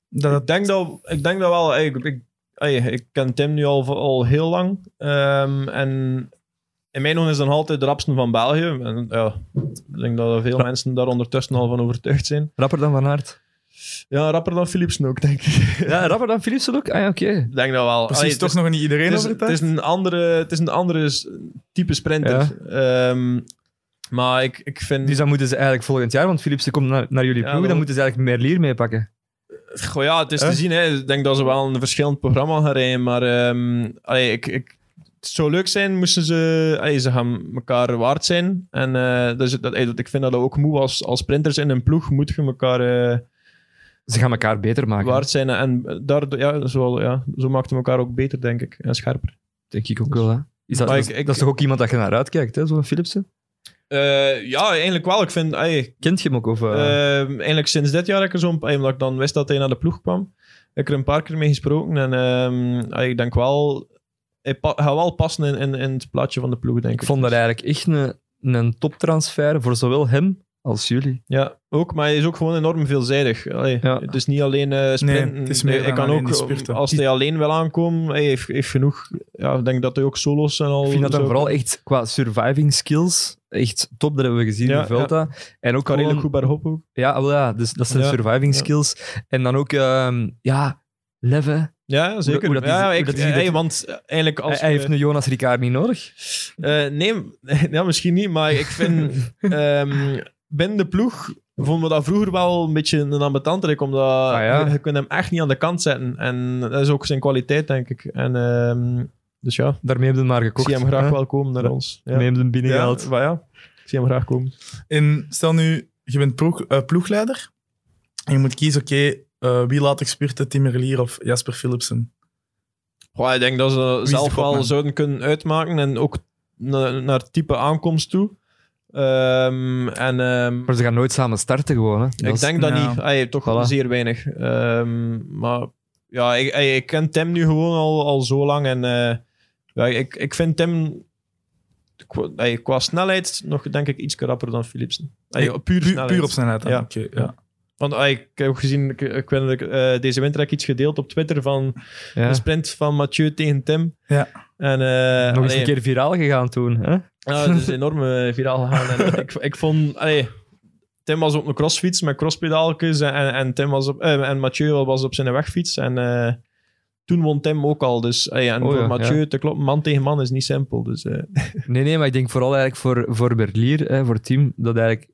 Speaker 4: dat
Speaker 6: Ik
Speaker 4: het...
Speaker 6: denk dat, ik denk dat wel. ey, ik, ik, ey, ik ken Tim nu al, al heel lang. Ehm, en in mijn ogen is dan altijd de rapste van België. En, ja, ik denk dat er veel mensen daar ondertussen al van overtuigd zijn.
Speaker 5: Rapper dan Van Aert.
Speaker 6: Ja, rapper dan Philipsen ook, denk ik.
Speaker 5: Ja, rapper dan Philipsen ook? Ah ja, oké.
Speaker 6: Ik denk dat wel.
Speaker 4: Precies,
Speaker 6: Allee, het
Speaker 4: toch
Speaker 6: is-
Speaker 4: nog niet iedereen
Speaker 6: het is, het
Speaker 4: overtuigd.
Speaker 6: is een andere, het is een andere s- type sprinter. Ehm, maar ik, ik vind...
Speaker 5: Dus dan moeten ze eigenlijk volgend jaar, want Philipsen komt naar, naar jullie
Speaker 6: Ja,
Speaker 5: ploeg, dan
Speaker 6: wel.
Speaker 5: moeten ze eigenlijk meer leer meepakken.
Speaker 6: Goh, ja, het is
Speaker 5: Eh?
Speaker 6: te zien. Hè. Ik denk dat ze wel een verschillend programma gaan rijden. Maar ehm, allee, ik, ik, het zou leuk zijn moesten ze... Allee, ze gaan elkaar waard zijn. En eh, dus, dat, allee, dat- ik vind dat ook moe als, als sprinters in een ploeg moet je elkaar eh,
Speaker 5: Ze gaan elkaar beter maken,
Speaker 6: waard zijn. En daardoor, ja, zo, ja, zo maakt het elkaar ook beter, denk ik. En scherper.
Speaker 5: denk ik ook wel. Hè. Is dat,
Speaker 6: Maar
Speaker 5: dat,
Speaker 6: ik-
Speaker 5: is-
Speaker 6: ik-
Speaker 5: dat is toch ook iemand dat je naar uitkijkt, hè, zo'n Philipsen?
Speaker 6: Eh, ja, eigenlijk wel. Ik vind... allee,
Speaker 5: Kent je hem ook? Of, eh,
Speaker 6: Ehm, eigenlijk sinds dit jaar heb ik er zo'n... eh, Omdat ik dan wist dat hij naar de ploeg kwam. Heb ik er een paar keer mee gesproken. En ehm, ah, ik denk wel... Hij pa- gaat wel passen in, in, in het plaatje van de ploeg, denk ik.
Speaker 5: ik vond dat eigenlijk echt een, een toptransfer voor zowel hem als jullie.
Speaker 6: Ja, ook. Maar hij is ook gewoon enorm veelzijdig. Allee,
Speaker 5: Ja.
Speaker 6: Het is niet alleen eh, sprinten.
Speaker 4: Nee, het is meer
Speaker 6: Hij- hij
Speaker 4: dan
Speaker 6: kan
Speaker 4: alleen
Speaker 6: ook,
Speaker 4: die spurten.
Speaker 6: als hij alleen wil aankomen, hij heeft, heeft genoeg... Ja, ik denk dat hij ook solo's en al...
Speaker 5: Ik vind dat
Speaker 6: Oh, zo-
Speaker 5: dan vooral echt qua surviving skills echt top. Dat hebben we gezien
Speaker 6: Ja,
Speaker 5: in Vuelta. En ook
Speaker 6: Kan redelijk
Speaker 5: gewoon,
Speaker 6: goed bij de hop ook.
Speaker 5: ja, wel ja, dus dat zijn
Speaker 6: Ja,
Speaker 5: surviving
Speaker 6: ja.
Speaker 5: skills. En dan ook, ehm, ja, leven.
Speaker 6: Ja, zeker.
Speaker 5: hoe dat die-
Speaker 6: ja, ja,
Speaker 5: hoe
Speaker 6: ik,
Speaker 5: dat die-
Speaker 6: hey, want eh, eigenlijk als...
Speaker 5: Hij, hij
Speaker 6: eh,
Speaker 5: heeft een Jonas Ricard niet nodig.
Speaker 6: Eh, nee, ja, misschien niet, maar ik vind ehm, binnen de ploeg vonden we dat vroeger wel een beetje een ambetant trek, omdat
Speaker 5: Ah, ja.
Speaker 6: je, je kunt hem echt niet aan de kant zetten. En dat is ook zijn kwaliteit, denk ik. En, ehm, dus ja,
Speaker 5: Daarmee hebben we hem maar
Speaker 6: ik
Speaker 5: gekocht.
Speaker 6: zie hem graag
Speaker 5: hè.
Speaker 6: wel komen naar
Speaker 5: Ja.
Speaker 6: ons. Ja.
Speaker 5: Daarmee hebben we hem
Speaker 6: ja,
Speaker 5: binnengehaald.
Speaker 6: maar ja, ik zie hem graag komen.
Speaker 4: En stel nu, je bent ploeg- eh, ploegleider. En je moet kiezen, oké, eh, wie laat ik spurten, Timmerlier of Jasper Philipsen?
Speaker 6: Goh, ik denk dat ze
Speaker 4: is de
Speaker 6: zelf
Speaker 4: kopman?
Speaker 6: wel zouden kunnen uitmaken en ook na- naar type aankomst toe. Ehm, en, ehm,
Speaker 5: Maar ze gaan nooit samen starten gewoon. Hè. Dat
Speaker 6: Ik
Speaker 5: is-
Speaker 6: denk dat
Speaker 4: ja.
Speaker 6: niet. Ay, toch
Speaker 5: Voilà.
Speaker 6: zeer weinig. Ehm, maar ja, ik, ay, ik ken Tim nu gewoon al, al zo lang. En eh, ja, ik, ik vind Tim qua, ay, qua snelheid nog denk ik iets rapper dan Philipsen. Ay,
Speaker 4: Ik-
Speaker 6: puur
Speaker 4: Puur,
Speaker 6: snelheid.
Speaker 4: puur op snelheid. dan.
Speaker 6: Ja.
Speaker 4: Oké, ja.
Speaker 6: Want ay, ik heb ook gezien, ik, ik weet dat ik, eh, deze winter heb ik iets gedeeld op Twitter van
Speaker 5: Ja.
Speaker 6: een sprint van Mathieu tegen Tim.
Speaker 4: Ja.
Speaker 6: En, eh,
Speaker 5: Nog eens
Speaker 6: allee,
Speaker 5: een keer viraal gegaan toen. Hè?
Speaker 6: ja, het is enorm eh, viraal gegaan. En ik, ik vond... allee, Tim was op een crossfiets met crosspedaaltjes en, en, en Tim was op, eh, en Mathieu was op zijn wegfiets. En eh, toen won Tim ook al. Dus, allee, en
Speaker 5: Oh
Speaker 6: voor
Speaker 5: ja,
Speaker 6: Mathieu te kloppen, man tegen man, is niet simpel. Dus, eh,
Speaker 5: Nee, nee, maar ik denk vooral eigenlijk voor, voor Berlier, hè, voor het team, dat eigenlijk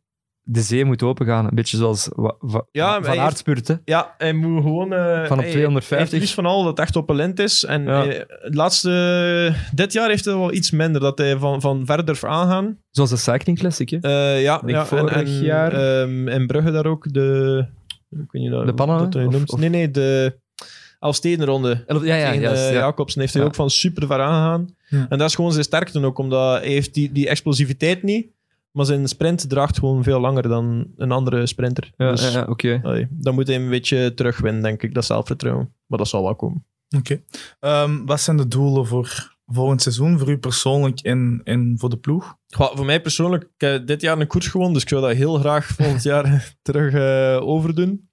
Speaker 5: de zee moet opengaan. Een beetje zoals wa, Wa-
Speaker 6: Ja, maar
Speaker 5: Van
Speaker 6: hij
Speaker 5: Aert spurt, hè.
Speaker 6: ja, hij moet gewoon... eh,
Speaker 5: Van op
Speaker 6: hij-
Speaker 5: 250.
Speaker 6: hij heeft Het liefst van al dat het echt op talent is. En
Speaker 5: Ja.
Speaker 6: eh, het laatste... Dit jaar heeft hij wel iets minder. Dat hij van, van verder aangaan.
Speaker 5: Zoals de Cycling Classic, hè.
Speaker 6: Eh, ja,
Speaker 5: Denk
Speaker 6: ja,
Speaker 5: vorig jaar.
Speaker 6: ehm, in Brugge daar ook de... Kun je dat,
Speaker 5: De pannen,
Speaker 6: dat hij
Speaker 5: of-
Speaker 6: noemt?
Speaker 5: of-
Speaker 6: Nee, nee, de Elfstedenronde.
Speaker 5: Elf- Ja, ja,
Speaker 6: tegen
Speaker 5: juist,
Speaker 6: eh,
Speaker 5: ja.
Speaker 6: Jacobsen heeft hij
Speaker 5: Ja.
Speaker 6: ook van super ver aangegaan.
Speaker 4: Ja.
Speaker 6: En dat is gewoon zijn sterkte ook, omdat hij heeft die, die explosiviteit niet, maar zijn sprint draagt gewoon veel langer dan een andere sprinter.
Speaker 5: Ja,
Speaker 6: dus
Speaker 5: ja, ja, oké.
Speaker 6: allee, dan moet hij een beetje terugwinnen, denk ik, dat zelfvertrouwen. Maar dat zal wel komen.
Speaker 4: Oké. Ehm, wat zijn de doelen voor volgend seizoen, voor u persoonlijk en, en voor de ploeg?
Speaker 6: Goh, voor mij persoonlijk, ik heb dit jaar een koers gewonnen, dus ik zou dat heel graag volgend jaar terug eh, overdoen.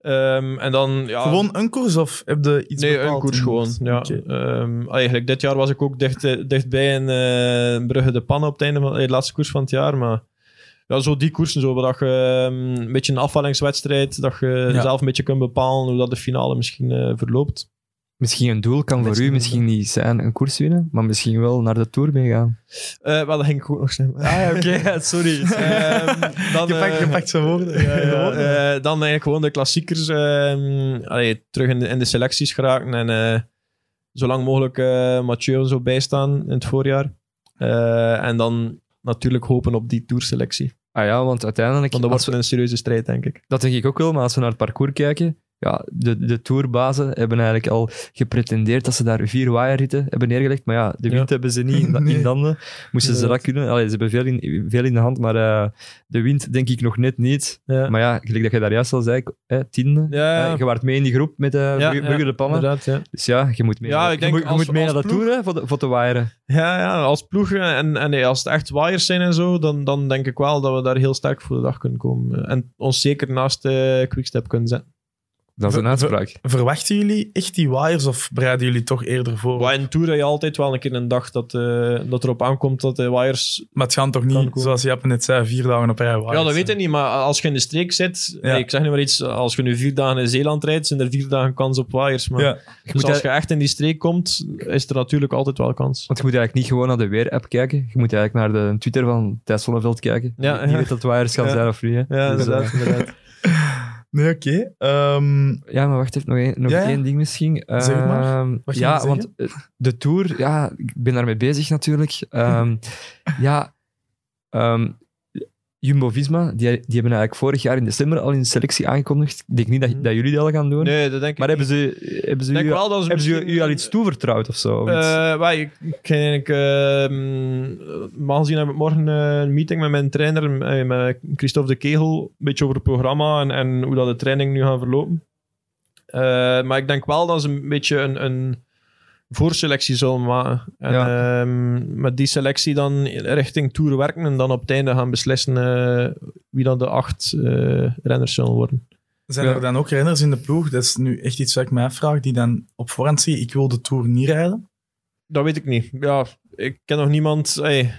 Speaker 6: Ehm, en dan, ja,
Speaker 4: Gewoon een koers of heb je iets
Speaker 6: nee,
Speaker 4: bepaald
Speaker 6: een koers
Speaker 4: in
Speaker 6: gewoon.
Speaker 4: mind?
Speaker 6: Ja.
Speaker 4: Oké.
Speaker 6: Ehm, eigenlijk, dit jaar was ik ook dicht, eh, dichtbij in eh, Brugge de Pannen op het einde van eh, de laatste koers van het jaar. Maar ja, zo die koersen, zo, waar dat je ehm, een beetje een afvallingswedstrijd, dat je
Speaker 4: Ja.
Speaker 6: zelf een beetje kunt bepalen hoe dat de finale misschien eh, verloopt.
Speaker 5: Misschien een doel kan voor
Speaker 6: Misschien
Speaker 5: u misschien niet zijn een koers winnen, maar misschien wel naar de Tour meegaan.
Speaker 6: Eh wel, dat ging ik ook nog
Speaker 4: Ah
Speaker 6: snel.
Speaker 5: oké. Sorry.
Speaker 6: Ehm, dan,
Speaker 4: Je pakt, je
Speaker 6: eh,
Speaker 4: pakt zijn woorden.
Speaker 6: Ja,
Speaker 4: De
Speaker 6: ja,
Speaker 4: woorden.
Speaker 6: eh, dan eigenlijk gewoon de klassiekers ehm, allee, terug in de, in de selecties geraken. En eh, zo lang mogelijk eh Mathieu er zo bijstaan in het voorjaar. Eh, en dan natuurlijk hopen op die tourselectie.
Speaker 5: Ah ja, want uiteindelijk...
Speaker 6: Want dat
Speaker 5: als
Speaker 6: wordt
Speaker 5: we-
Speaker 6: een serieuze strijd, denk ik.
Speaker 5: dat denk ik ook wel, maar als we naar het parcours kijken... Ja, de, de tourbazen hebben eigenlijk al gepretendeerd dat ze daar vier waaierritten hebben neergelegd. Maar ja, de wind
Speaker 6: Ja.
Speaker 5: hebben ze niet in, da-
Speaker 4: Nee.
Speaker 5: in handen. Moesten ze dat kunnen? Allee, ze hebben veel in, veel in de hand, maar eh, de wind denk ik nog net niet.
Speaker 6: Ja,
Speaker 5: Maar ja, gelijk dat je daar juist al zei, eh, tiende.
Speaker 6: Ja, ja.
Speaker 5: Eh, je waart mee in die groep met de
Speaker 6: Ja,
Speaker 5: Brugge, Brugge
Speaker 6: ja,
Speaker 5: de Pannen.
Speaker 6: inderdaad. Ja.
Speaker 5: Dus ja, je moet mee.
Speaker 6: Ja, ik
Speaker 5: je
Speaker 6: denk
Speaker 5: moet, je
Speaker 6: als-
Speaker 5: moet mee
Speaker 6: als
Speaker 5: naar dat
Speaker 6: ploeg-
Speaker 5: tour, hè, voor de, voor de waaieren.
Speaker 6: Ja, ja, als ploeg eh, en, en eh, als het echt waaiers zijn en zo, dan, dan denk ik wel dat we daar heel sterk voor de dag eh, kunnen komen. En ons zeker naast eh Quickstep kunnen zetten.
Speaker 5: Dat is een
Speaker 4: Ver-
Speaker 5: uitspraak.
Speaker 4: Verwachten jullie echt die waaiers of bereiden jullie toch eerder voor?
Speaker 6: Waar in Tour heb je altijd wel een keer een dag dat, eh, dat erop aankomt dat de wires
Speaker 4: Maar het gaan toch
Speaker 6: Kan
Speaker 4: niet,
Speaker 6: komen.
Speaker 4: zoals Jappe net zei, vier dagen op rij waaiers
Speaker 6: Ja, dat weet ik
Speaker 4: zijn?
Speaker 6: niet, maar als je in de streek zit,
Speaker 4: Ja.
Speaker 6: nee, ik zeg nu maar iets, als je nu vier dagen in Zeeland rijdt, zijn er vier dagen kans op waaiers. Maar
Speaker 4: Ja.
Speaker 5: Je
Speaker 6: dus
Speaker 5: moet
Speaker 6: als
Speaker 5: eigenlijk-
Speaker 6: je echt in die streek komt, is er natuurlijk altijd wel kans.
Speaker 5: Want je moet eigenlijk niet gewoon naar de weer-app kijken. Je moet eigenlijk naar de Twitter van Thijs Zonneveld kijken.
Speaker 6: Ja,
Speaker 5: die, die
Speaker 6: ja.
Speaker 5: weet dat waaiers gaan
Speaker 6: Ja.
Speaker 5: zijn of niet. hè.
Speaker 6: Ja,
Speaker 5: Dus, eh,
Speaker 6: inderdaad. inderdaad.
Speaker 4: Nee, oké. Ehm,
Speaker 5: Ja, maar wacht even, nog, één, nog
Speaker 4: Ja, ja.
Speaker 5: één ding misschien.
Speaker 4: Zeg het maar.
Speaker 5: Ehm,
Speaker 4: Wat ging
Speaker 5: ja,
Speaker 4: je
Speaker 5: want eh, de Tour, ja, ik ben daarmee bezig natuurlijk. Ehm, ja, ehm, Jumbo-Visma, die, die hebben eigenlijk vorig jaar in december al hun selectie aangekondigd. Ik denk niet dat, dat jullie dat al gaan doen.
Speaker 6: Mhm. Nee, dat denk ik
Speaker 5: Maar hebben
Speaker 6: niet.
Speaker 5: ze, hebben ze,
Speaker 6: Ik
Speaker 5: u,
Speaker 6: denk wel dat ze
Speaker 5: hebben ze u,
Speaker 6: misschien-
Speaker 5: u al iets toevertrouwd of zo? Of iets?
Speaker 6: Eh, wij, ik, ik ging eigenlijk, ehm, normaal gezien heb ik morgen eh, een meeting met mijn trainer, eh, met Christophe de Kegel, een beetje over het programma en, en hoe dat de training nu gaan verlopen. Eh, maar ik denk wel dat ze een beetje een, een voorselectie zullen maken. En
Speaker 5: Ja.
Speaker 6: ehm, met die selectie dan richting Tour werken en dan op het einde gaan beslissen eh, wie dan de acht eh, renners zullen worden.
Speaker 4: zijn
Speaker 5: Ja.
Speaker 4: er dan ook renners in de ploeg? Dat is nu echt iets wat ik mij afvraag, die dan op voorhand zie, ik wil de Tour niet rijden.
Speaker 6: Dat weet ik niet. Ja, ik ken nog niemand. Hey,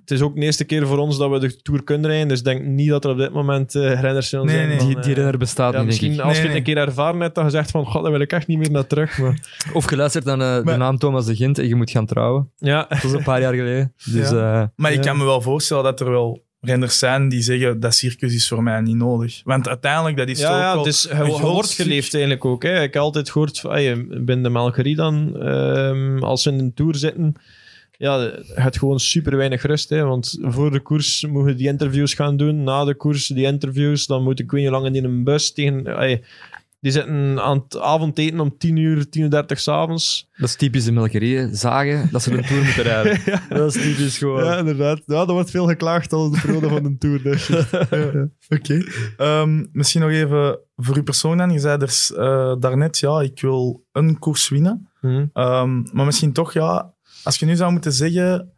Speaker 6: het is ook de eerste keer voor ons dat we de Tour kunnen rijden. Dus ik denk niet dat er op dit moment eh renners zullen
Speaker 4: Nee,
Speaker 6: zijn.
Speaker 4: nee.
Speaker 6: van,
Speaker 5: die, die
Speaker 6: eh,
Speaker 5: renner bestaat
Speaker 6: ja,
Speaker 5: niet, denk
Speaker 6: misschien
Speaker 5: ik.
Speaker 6: als je
Speaker 4: Nee, nee.
Speaker 6: het een keer ervaren hebt, dan gezegd van, god, dan wil ik echt niet meer naar terug. Maar,
Speaker 5: Of geluisterd aan eh, de
Speaker 4: Maar-
Speaker 5: naam Thomas de Gent en je moet gaan trouwen.
Speaker 6: ja,
Speaker 5: Dat is een paar jaar geleden. Dus eh,
Speaker 4: Maar
Speaker 6: Ja.
Speaker 4: ik kan me wel voorstellen dat er wel renners zijn die zeggen, dat circus is voor mij niet nodig. Want uiteindelijk, dat is toch
Speaker 6: ja,
Speaker 4: ook
Speaker 6: ja
Speaker 4: wel
Speaker 6: het is, je,
Speaker 4: een
Speaker 6: je
Speaker 4: groot
Speaker 6: wordt
Speaker 4: stuk.
Speaker 6: geleefd eigenlijk ook. Hè. Ik heb altijd gehoord, van, hey, binnen de Melgerie dan, ehm, als ze in een Tour zitten, ja, je hebt gewoon super weinig rust. Hè, want voor de koers moeten die interviews gaan doen, na de koers die interviews, dan moet ik weet niet hoe lang in een bus tegen... hey, die zitten aan het avondeten om 10 uur, 10 uur 30 s'avonds.
Speaker 5: dat is typisch de melkerieën. Zagen dat ze een tour moeten rijden. Dat is typisch gewoon.
Speaker 6: Ja, inderdaad. Ja, er wordt veel geklaagd al de periode van een tour. Dus.
Speaker 4: Oké. Ehm, misschien nog even voor uw persoon dan. Je zei dus, eh, daarnet, ja, ik wil een koers winnen.
Speaker 6: Mhm.
Speaker 4: Ehm, maar misschien toch, ja, als je nu zou moeten zeggen,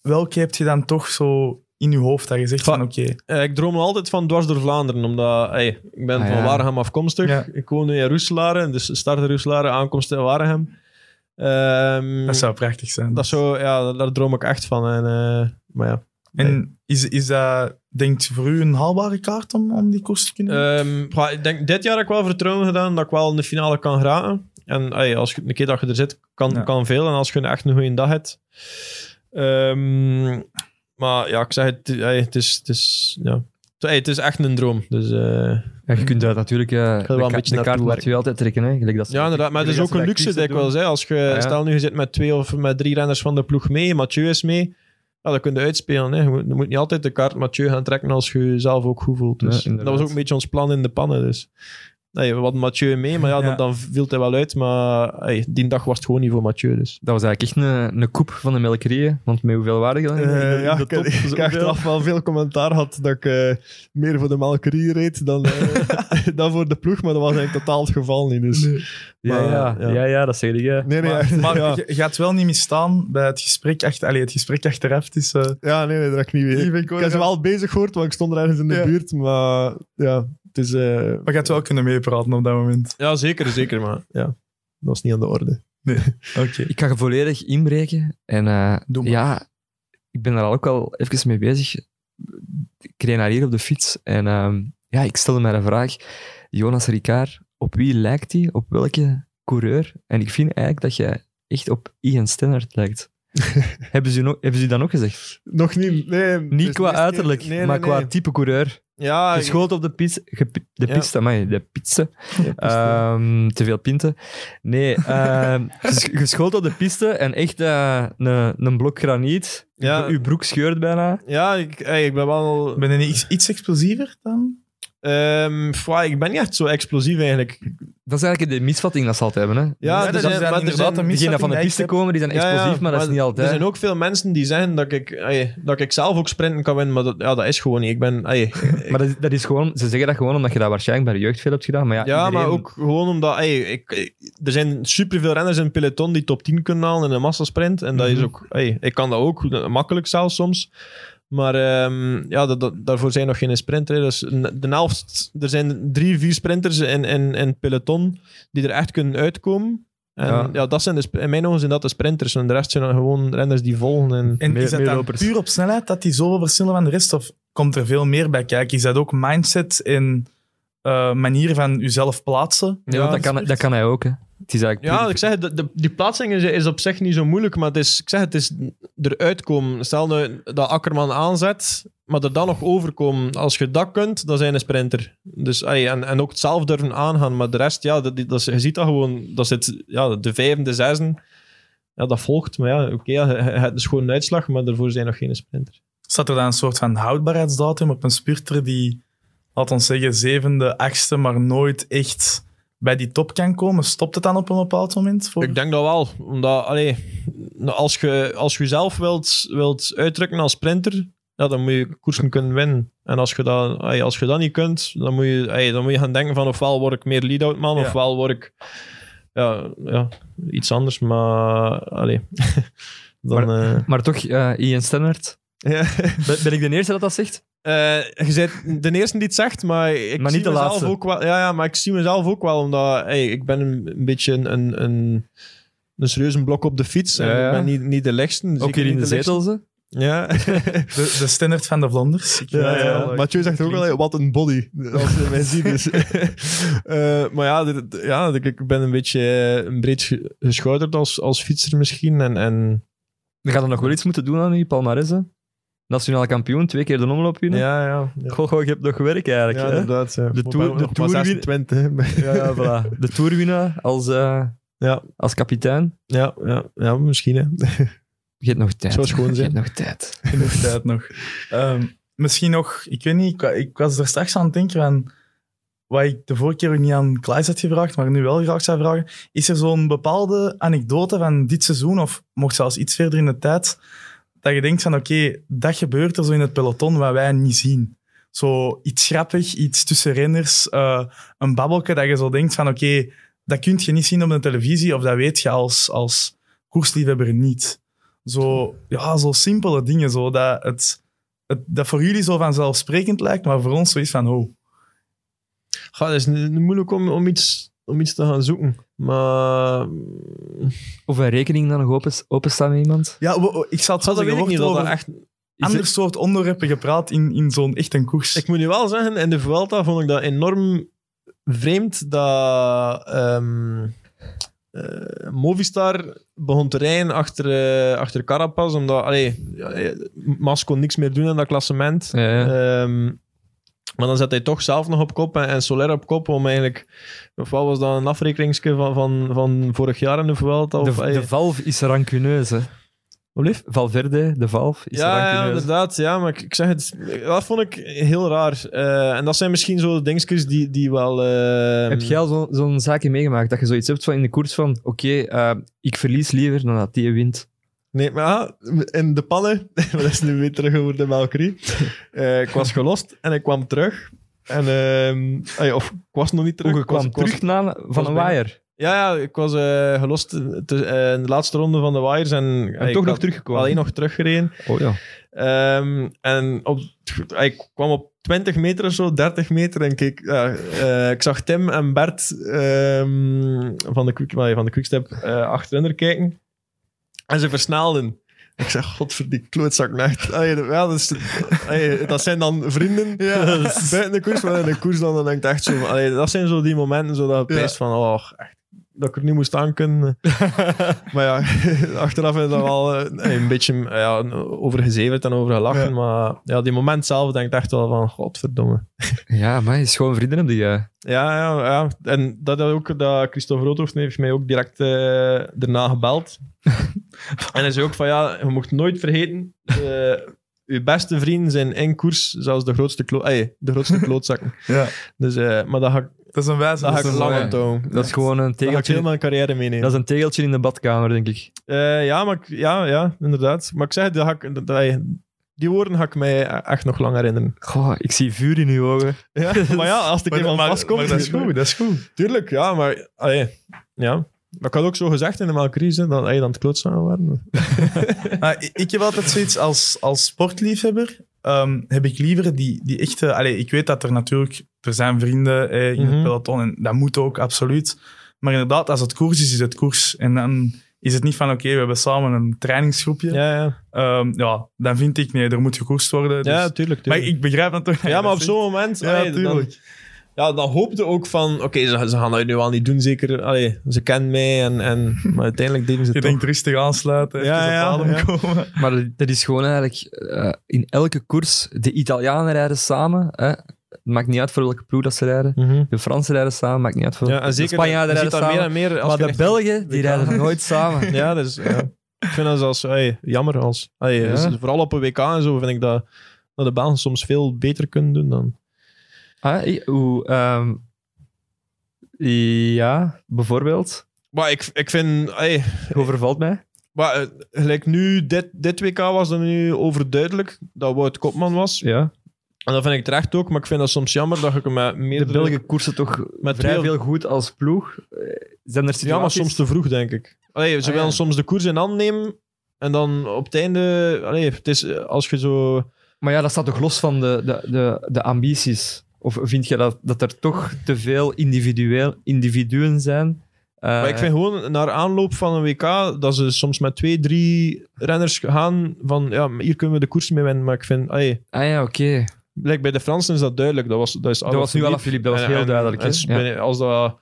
Speaker 4: welke heb je dan toch zo in je hoofd dat je zegt van,
Speaker 6: Va-
Speaker 4: oké,
Speaker 6: Eh, ik droom altijd van dwars door Vlaanderen, omdat hey, ik ben
Speaker 5: Ah,
Speaker 6: van
Speaker 5: ja.
Speaker 6: Waregem afkomstig.
Speaker 4: Ja.
Speaker 6: Ik woon nu in Roeselare, dus start in Roeselare, aankomst in Waregem. Ehm,
Speaker 4: dat zou prachtig zijn.
Speaker 6: dat zou- ja, daar droom ik echt van. En, eh, maar ja.
Speaker 4: En is, is dat, denkt je, voor u een haalbare kaart om, om die koers te kunnen winnen?
Speaker 6: Ehm, goh, ik denk, dit jaar heb ik wel vertrouwen gedaan dat ik wel in de finale kan geraken. En ey, als je, een keer dat je er zit, kan,
Speaker 4: Ja.
Speaker 6: kan veel. En als je echt een goede dag hebt. Ehm, maar ja, ik zeg het, ey, het is... Het is, ja. Ey, het is echt een droom. Dus, eh,
Speaker 5: Ja, je kunt daar natuurlijk eh, de,
Speaker 6: wel een
Speaker 5: ka-
Speaker 6: beetje
Speaker 5: de kaart
Speaker 6: naartoe
Speaker 5: laat je altijd trekken. Hè? Gelijk dat ze-
Speaker 6: Ja, inderdaad. Maar het is
Speaker 5: gelijk
Speaker 6: ook een
Speaker 5: dat ze
Speaker 6: luxe,
Speaker 5: bij
Speaker 6: denk ik wel.
Speaker 5: Quickstep
Speaker 6: Hè. Als je,
Speaker 5: ja.
Speaker 6: Stel nu, je zit met twee of met drie renners van de ploeg mee, Mathieu is mee. Ja, dat kun je uitspelen. Hè. Je, moet, je moet niet altijd de kaart Mathieu gaan trekken als je jezelf ook goed voelt. Dus.
Speaker 5: Ja, inderdaad.
Speaker 6: dat was ook een beetje ons plan in de pannen. Dus. Nee, we hadden Mathieu mee, maar ja,
Speaker 4: Ja.
Speaker 6: Dan, dan viel hij wel uit. Maar hey, die dag was het gewoon niet voor Mathieu. Dus.
Speaker 5: doen. Dat was eigenlijk echt een, een koep van de melkerieën. Want met hoeveel waren
Speaker 6: Eh,
Speaker 5: je dan? in de- in de- in de top? Zoveel.
Speaker 6: wel veel commentaar had dat ik eh, meer voor de Malkerie reed dan, eh, dan voor de ploeg. Maar dat was eigenlijk totaal het geval niet. Dus.
Speaker 5: Ja, ja, ja. ja, dat zeg ik. eh. hè.
Speaker 6: Nee, nee,
Speaker 4: maar je je gaat wel niet misstaan bij het gesprek, achter, allee, het eh, gesprek achteraf tussen...
Speaker 6: Ja, nee, nee, dat heb ik niet
Speaker 4: Ik
Speaker 6: weer.
Speaker 4: vind
Speaker 6: Ik
Speaker 4: ook
Speaker 6: heb ze
Speaker 4: dat-
Speaker 6: wel bezig gehoord, want ik stond er ergens in de
Speaker 4: Ja.
Speaker 6: buurt. Maar ja, het is... eh,
Speaker 4: Maar je gaat wel kunnen meepraten op dat moment.
Speaker 6: Ja, zeker, zeker, maar ja, dat is niet aan de orde.
Speaker 4: Oké.
Speaker 5: Ik ga je volledig inbreken. En eh,
Speaker 4: Doe maar.
Speaker 5: ja, ik ben daar ook al even mee bezig. Ik reed naar hier op de fiets. En ehm, ja, ik stelde mij de vraag. Jonas Ricard, op wie lijkt hij? Op welke coureur? En ik vind eigenlijk dat jij echt op Ian Stennard lijkt. hebben, ze, u nog- hebben ze u dan ook gezegd?
Speaker 6: Nog niet, nee.
Speaker 5: Niet
Speaker 6: dus
Speaker 5: qua
Speaker 6: het is-
Speaker 5: uiterlijk,
Speaker 6: nee, nee,
Speaker 5: maar qua
Speaker 6: nee.
Speaker 5: type coureur.
Speaker 6: Ja,
Speaker 5: Je
Speaker 6: ik-
Speaker 5: schoot op de pizza. De
Speaker 6: Ja.
Speaker 5: pizza, amai, de pizza. Ehm, te veel pinten. Nee, ehm geschoten op de piste en echt eh, een een blok graniet.
Speaker 6: Ja.
Speaker 5: Uw broek scheurt bijna.
Speaker 6: ja ik, ey, ik ben wel...
Speaker 4: Ben je niet iets, iets explosiever dan?
Speaker 6: ehm, pff, ik ben niet echt zo explosief eigenlijk.
Speaker 5: Dat is eigenlijk de misvatting dat ze altijd hebben. Hè?
Speaker 6: Ja,
Speaker 4: dat
Speaker 6: er zijn, maar er zijn,
Speaker 4: een
Speaker 5: Diegenen van de piste komen, die zijn
Speaker 6: Ja, ja,
Speaker 5: explosief, maar dat is niet altijd.
Speaker 6: Er zijn ook veel mensen die zeggen dat ik, ey, dat ik zelf ook sprinten kan winnen, maar dat, ja, dat is gewoon niet. Ik ben... ey,
Speaker 5: Maar dat is, dat is gewoon, ze zeggen dat gewoon omdat je dat waarschijnlijk bij de jeugd veel hebt gedaan. Maar ja,
Speaker 6: Ja,
Speaker 5: iedereen-
Speaker 6: maar ook gewoon omdat ey, ik, ik- er zijn superveel renners in het peloton
Speaker 5: Mhm.
Speaker 6: die top 10 kunnen halen in een massasprint. En dat is ook, ey, ik kan dat ook goed, makkelijk zelfs soms. Maar ehm, ja, dat, dat- daarvoor zijn nog geen sprinter. Dus n- de helft, er zijn drie, vier sprinters in, in, in het peloton die er echt kunnen uitkomen. En
Speaker 5: Ja.
Speaker 6: ja. dat zijn de, sp- in mijn ogen zijn dat de sprinters. En de rest zijn dan gewoon renners die volgen. En,
Speaker 4: En
Speaker 5: Meer-
Speaker 4: is dat
Speaker 5: meer
Speaker 4: dan
Speaker 5: lopers.
Speaker 4: puur op snelheid dat die zoveel verschillen van de rest? Of komt er veel meer bij kijken? Is dat ook mindset en eh, manier van jezelf plaatsen?
Speaker 5: Ja, want dat, kan, dat kan hij ook. Hè. Het is eigenlijk
Speaker 6: Ja,
Speaker 5: puur-
Speaker 6: ik zeg, het, de, de- die plaatsing is, is op zich niet zo moeilijk, maar het is, ik zeg, het is eruit komen. Stel nu dat Akkerman aanzet, maar er dan nog overkomen. Als je dat kunt, dan zijn een sprinter. Dus, ey, en, en ook het zelf durven aangaan, maar de rest, ja, dat, die- dat, is- je ziet dat gewoon. Dat zit, ja, de vijfde, de zesde, ja, dat volgt. Maar ja, oké, ja, je- je hebt een schone uitslag, maar daarvoor zijn nog geen sprinter.
Speaker 4: Staat er dan een soort van houdbaarheidsdatum op een spurter die, laten ons zeggen, zevende, achtste, maar nooit echt bij die top kan komen? Stopt het dan op een bepaald moment? Voor...
Speaker 6: Ik denk dat wel, omdat allee, nou, als je als je zelf wilt, wilt uitdrukken als sprinter, ja, dan moet je koersen kunnen winnen. En als je dat, allee, als je dat niet kunt, dan moet, je, allee, dan moet je gaan denken van ofwel word ik meer lead-out man,
Speaker 4: Ja.
Speaker 6: ofwel word ik ja, ja, iets anders. Maar allee, dan... eh,
Speaker 5: Maar toch, eh, Ian Stennert.
Speaker 6: ja.
Speaker 5: Ben, ben ik de eerste dat dat zegt?
Speaker 6: Eh, je bent de eerste die het zegt, maar ik
Speaker 5: Maar
Speaker 6: zie
Speaker 5: niet de
Speaker 6: mezelf
Speaker 5: laatste.
Speaker 6: ook wel. Ja, ja, maar ik zie mezelf ook wel, omdat hey, ik ben een, een beetje een, een, een, een serieuze blok op de fiets. en
Speaker 5: Ja, ja.
Speaker 6: Ik ben niet, niet de lichtste.
Speaker 5: Ook
Speaker 6: zeker
Speaker 5: hier in
Speaker 6: niet
Speaker 5: de zetel. Ze.
Speaker 6: lichtste. Ja.
Speaker 4: De, de standaard van de Vlaanders. Ik weet
Speaker 6: Ja,
Speaker 4: het
Speaker 6: ja.
Speaker 4: wel, eh,
Speaker 6: Mathieu zegt ook
Speaker 4: klinkt.
Speaker 6: wel, wat een body. Als je mij ziet. Dus. Eh, maar ja, dit- dit- ja ik- ik ben een beetje eh, een breed ge- geschouderd als, als fietser misschien. En, en
Speaker 5: We gaan er nog wel iets moeten doen aan die Palmares. hè. Nationaal kampioen, twee keer de omloop winnen.
Speaker 6: ja, ja. ja.
Speaker 5: Goh, goh, je hebt nog werk eigenlijk.
Speaker 6: Ja,
Speaker 5: hè.
Speaker 6: inderdaad. Ja.
Speaker 5: De
Speaker 6: Maar
Speaker 5: Tour-
Speaker 6: ben
Speaker 5: de
Speaker 6: nog maar
Speaker 5: Tour win-
Speaker 6: 26, hè.
Speaker 5: ja, ja, voilà. De toerwinnaar als, eh,
Speaker 6: Ja.
Speaker 5: als kapitein.
Speaker 6: Ja, ja, ja, misschien. Hè.
Speaker 5: Je hebt nog tijd.
Speaker 6: Zou schoon zijn.
Speaker 5: Je hebt nog tijd.
Speaker 4: genoeg tijd nog. Ehm, misschien nog, ik weet niet, ik, wa- ik was er straks aan het denken van wat ik de vorige keer ook niet aan Klaes had gevraagd, maar nu wel graag zou vragen. Is er zo'n bepaalde anekdote van dit seizoen, of mocht zelfs iets verder in de tijd, dat je denkt van oké, dat gebeurt er zo in het peloton wat wij niet zien? Zo iets grappig, iets tussen renners, eh, een babbelke dat je zo denkt van oké, dat kun je niet zien op de televisie of dat weet je als, als koersliefhebber niet zo, ja, zo simpele dingen. Zo, dat, het, het, dat voor jullie zo vanzelfsprekend lijkt, maar voor ons zoiets van, oh,
Speaker 6: Goh, het is n- moeilijk om, om, iets, om iets te gaan zoeken. Maar mm,
Speaker 5: Of een rekening dan nog open, openstaan met iemand?
Speaker 4: ja, we- we- ik zal het
Speaker 6: dat
Speaker 4: zo
Speaker 6: weet
Speaker 4: zeggen,
Speaker 6: ik niet.
Speaker 4: wordt
Speaker 6: Dat
Speaker 4: over
Speaker 6: dat echt,
Speaker 5: Is
Speaker 4: ander soort onderwerpen gepraat in, in zo'n echt een koers.
Speaker 6: ik moet nu wel zeggen, in de Vuelta vond ik dat enorm vreemd dat ehm, eh, Movistar begon te rijden achter, eh, achter Carapaz. Omdat, allee, ja, eh, Mas kon niks meer doen aan dat klassement.
Speaker 5: Ja, ja.
Speaker 6: Ehm, maar dan zet hij toch zelf nog op kop en, en Soler op kop om eigenlijk... Of wat was dat, een afrekeningske van, van, van vorig jaar in de Vuelta? Of,
Speaker 5: de,
Speaker 6: eh,
Speaker 5: de Valve is rancuneus, hè.
Speaker 6: wat blieft?
Speaker 5: Valverde, de Valve, is
Speaker 6: ja, ja,
Speaker 5: rancuneus.
Speaker 6: inderdaad. Ja, maar ik, ik zeg het, dat vond ik heel raar. Eh, en dat zijn misschien zo de dingetjes die, die wel... eh,
Speaker 5: Heb jij al zo- zo'n zaakje meegemaakt? Dat je zoiets hebt van in de koers van... Oké, eh, ik verlies liever dan dat die wint.
Speaker 6: Nee, maar ja, in de pannen, dat is nu weer terug over de Valkyrie. Eh, ik was gelost en ik kwam terug. En, ehm, ah ja, of ik was nog niet terug.
Speaker 5: Hoe je
Speaker 6: ik was-
Speaker 5: kwam
Speaker 6: ik was-
Speaker 5: terug na, van
Speaker 6: was
Speaker 5: een
Speaker 6: bij-
Speaker 5: waaier.
Speaker 6: Ja, ja, ik was eh, gelost te- eh, in de laatste ronde van de Wires. En,
Speaker 5: En
Speaker 6: eh,
Speaker 5: toch
Speaker 6: ik
Speaker 5: nog
Speaker 6: had
Speaker 5: teruggekomen.
Speaker 6: Alleen nog teruggereden.
Speaker 5: Oh ja.
Speaker 6: Ehm, en op, ik kwam op 20 meter of zo, 30 meter en keek, ja, eh, ik zag Tim en Bert ehm, van de, quick, nee, van de Quickstep eh achterin er kijken. En ze versnelden. Ik zeg, godverdie klootzak. nacht." Allee, dat- ja, dat, is- allee, dat zijn dan vrienden buiten de koers. Maar in de koers dan, dan denk ik echt zo... van, allee, dat zijn zo die momenten zo dat je
Speaker 4: Ja.
Speaker 6: pijst van... Oh, echt, dat ik er niet moest aan kunnen. Maar ja, achteraf is dat wel eh, een beetje eh, ja, over gezeverd en over gelachen.
Speaker 4: Ja.
Speaker 6: Maar ja, die moment zelf denk ik echt wel van, godverdomme.
Speaker 5: Ja, maar is gewoon vrienden heb die... eh.
Speaker 6: Ja, ja, ja. En dat, had ook, dat Christophe Roodhoofd heeft mij ook direct eh, daarna gebeld. en hij zei ook van, ja, je mocht nooit vergeten, eh, je beste vrienden zijn in koers zelfs de grootste, klo ey, de grootste klootzakken.
Speaker 4: Ja.
Speaker 6: Dus, eh, maar dat ga, ik-
Speaker 4: Dat is een wijze.
Speaker 6: dat ga
Speaker 4: dat
Speaker 6: ik
Speaker 4: is een
Speaker 6: lang
Speaker 4: mooie.
Speaker 6: aan touw.
Speaker 5: Dat is gewoon een
Speaker 6: Daar ga ik
Speaker 5: tegeltje.
Speaker 6: heel mijn carrière meenemen.
Speaker 5: Dat is een tegeltje in de badkamer, denk ik.
Speaker 6: Eh, ja, maar ik- ja, ja, inderdaad. Maar ik zeg, dat ga ik- dat- dat- die woorden ga ik mij echt nog lang herinneren.
Speaker 5: Goh, ik zie vuur in uw ogen.
Speaker 6: Ja, maar ja, als ik
Speaker 4: Maar,
Speaker 6: eenmaal
Speaker 4: maar-
Speaker 6: vastkom...
Speaker 4: maar dat is goed, dat is goed.
Speaker 6: Tuurlijk, ja, maar... allee, ja. Maar ik had ook zo gezegd in de melkcrisis hè, dat hij dan het klootzaan waren.
Speaker 4: Maar ik- ik heb altijd zoiets als, als sportliefhebber. ehm, heb ik liever die, die echte. Allee, ik weet dat er natuurlijk. Er zijn vrienden eh, in
Speaker 6: Mhm.
Speaker 4: het peloton en dat moet ook, absoluut. Maar inderdaad, als het koers is, is het koers. En dan is het niet van: oké, we hebben samen een trainingsgroepje.
Speaker 6: Ja, ja.
Speaker 4: Ehm, ja, dan vind ik nee, er moet gekoerst worden. Dus.
Speaker 6: ja tuurlijk. tuurlijk.
Speaker 4: maar ik begrijp dat toch?
Speaker 6: ja, maar op zo'n moment...
Speaker 4: Ja,
Speaker 6: allee, dan,
Speaker 4: tuurlijk.
Speaker 6: ja, dan hoopte ook van... Oké, ze, ze gaan dat nu wel niet doen, zeker. Allee, ze kennen mij, en, en, maar uiteindelijk deden ze
Speaker 4: je
Speaker 6: het
Speaker 4: denkt rustig aansluiten,
Speaker 6: Ja,
Speaker 4: even
Speaker 6: ja,
Speaker 4: op adem
Speaker 6: ja.
Speaker 4: komen.
Speaker 5: Maar dat- dat is gewoon eigenlijk eh, in elke koers. De Italianen rijden samen. Hè. Het maakt niet uit voor welke ploeg dat ze rijden.
Speaker 6: toch. Mhm.
Speaker 5: De Fransen rijden samen. Maakt niet uit voor
Speaker 6: Ja, en
Speaker 5: de
Speaker 6: zeker,
Speaker 5: Spanjaarden
Speaker 6: je ziet
Speaker 5: rijden
Speaker 6: dat meer
Speaker 5: samen.
Speaker 6: en meer. Als
Speaker 5: Maar
Speaker 6: je
Speaker 5: de
Speaker 6: echt-
Speaker 5: Belgen die
Speaker 6: WK.
Speaker 5: rijden nooit samen.
Speaker 6: Ja, dus, ja. ik vind dat zelfs hey, jammer. Als, hey,
Speaker 5: Ja.
Speaker 6: dus vooral op een WK en zo vind ik dat, dat de Belgen soms veel beter kunnen doen dan...
Speaker 5: Ah, ik- hoe, ehm, ja, bijvoorbeeld.
Speaker 6: Maar ik, ik vind... Hey,
Speaker 5: Je overvalt mij.
Speaker 6: maar, eh, gelijk nu, dit, dit WK was er nu overduidelijk dat Wout Kopman was.
Speaker 5: Ja.
Speaker 6: En dat vind ik terecht ook, maar ik vind dat soms jammer dat ik hem met
Speaker 5: De
Speaker 6: meerdere...
Speaker 5: Belgen koersen toch
Speaker 6: Met
Speaker 5: vrij
Speaker 6: twee-
Speaker 5: veel goed als ploeg. Eh, Zijn er situaties...
Speaker 6: Ja, maar soms te vroeg, denk ik. Allee, ze
Speaker 5: Ah,
Speaker 6: willen
Speaker 5: ja.
Speaker 6: soms de koers in hand nemen en dan op het einde... Allee, het is eh, als je zo...
Speaker 5: Maar ja, dat staat toch los van de, de, de, de ambities? Of vind je dat, dat er toch te veel individueel, individuen zijn? Eh,
Speaker 6: Maar ik vind gewoon, naar aanloop van een WK, dat ze soms met twee, drie renners gaan van, ja, maar hier kunnen we de koers mee winnen. Maar ik vind, allee,
Speaker 5: Ah ja, oké.
Speaker 6: like bij de Fransen is dat duidelijk. Dat was, dat is
Speaker 5: Dat was nu al Filip, dat was
Speaker 6: En-
Speaker 5: heel
Speaker 6: en-
Speaker 5: duidelijk. hè?
Speaker 6: en
Speaker 5: Ja.
Speaker 6: bij- Als dat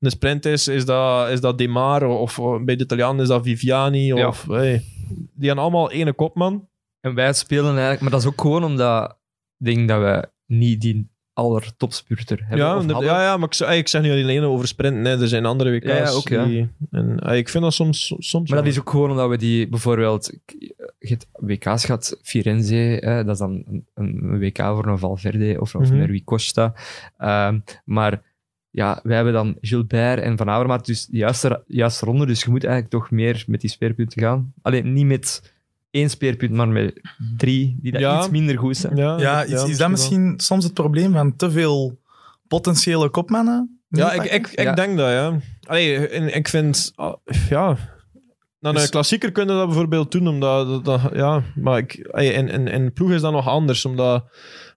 Speaker 6: een sprint is, is dat, is dat Demar. Of, of bij de Italianen is dat Viviani.
Speaker 5: Ja.
Speaker 6: Of, hey, die hebben allemaal ene kopman.
Speaker 5: En wij spelen eigenlijk... Maar dat is ook gewoon omdat... Ik denk dat wij niet die allertopspurter hebben.
Speaker 6: Ja,
Speaker 5: of
Speaker 6: de-
Speaker 5: hadden.
Speaker 6: ja, ja, maar ik, zeg- ey, ik zeg niet alleen over sprinten. hè. er zijn andere WK's.
Speaker 5: Ja, ja, ook, ja.
Speaker 6: die- en, ey, ik vind dat soms... soms
Speaker 5: Maar dat
Speaker 6: wel.
Speaker 5: is ook gewoon omdat we die bijvoorbeeld... k- Je hebt WK's gehad, Firenze, eh, dat is dan een, een WK voor een Valverde of, of
Speaker 6: Mhm.
Speaker 5: een Rui Costa. Ehm, maar ja, wij hebben dan Gilbert en Van Avermaet, dus de juiste, juiste ronde. Dus je moet eigenlijk toch meer met die speerpunten gaan. Alleen niet met één speerpunt, maar met drie, die dat
Speaker 6: Ja.
Speaker 5: iets minder goed zijn.
Speaker 4: Ja, is, is dat
Speaker 6: wel.
Speaker 4: misschien soms het probleem van te veel potentiële kopmannen?
Speaker 6: Ja, ik, ik, ik
Speaker 5: Ja.
Speaker 6: denk dat, ja. Allee, en ik vind... ah, Ja... Dan een
Speaker 4: Dus-
Speaker 6: klassieker kunnen dat bijvoorbeeld doen, omdat... Dat, dat- ja, maar ik, allee, in, in, in ploeg is dat nog anders, omdat...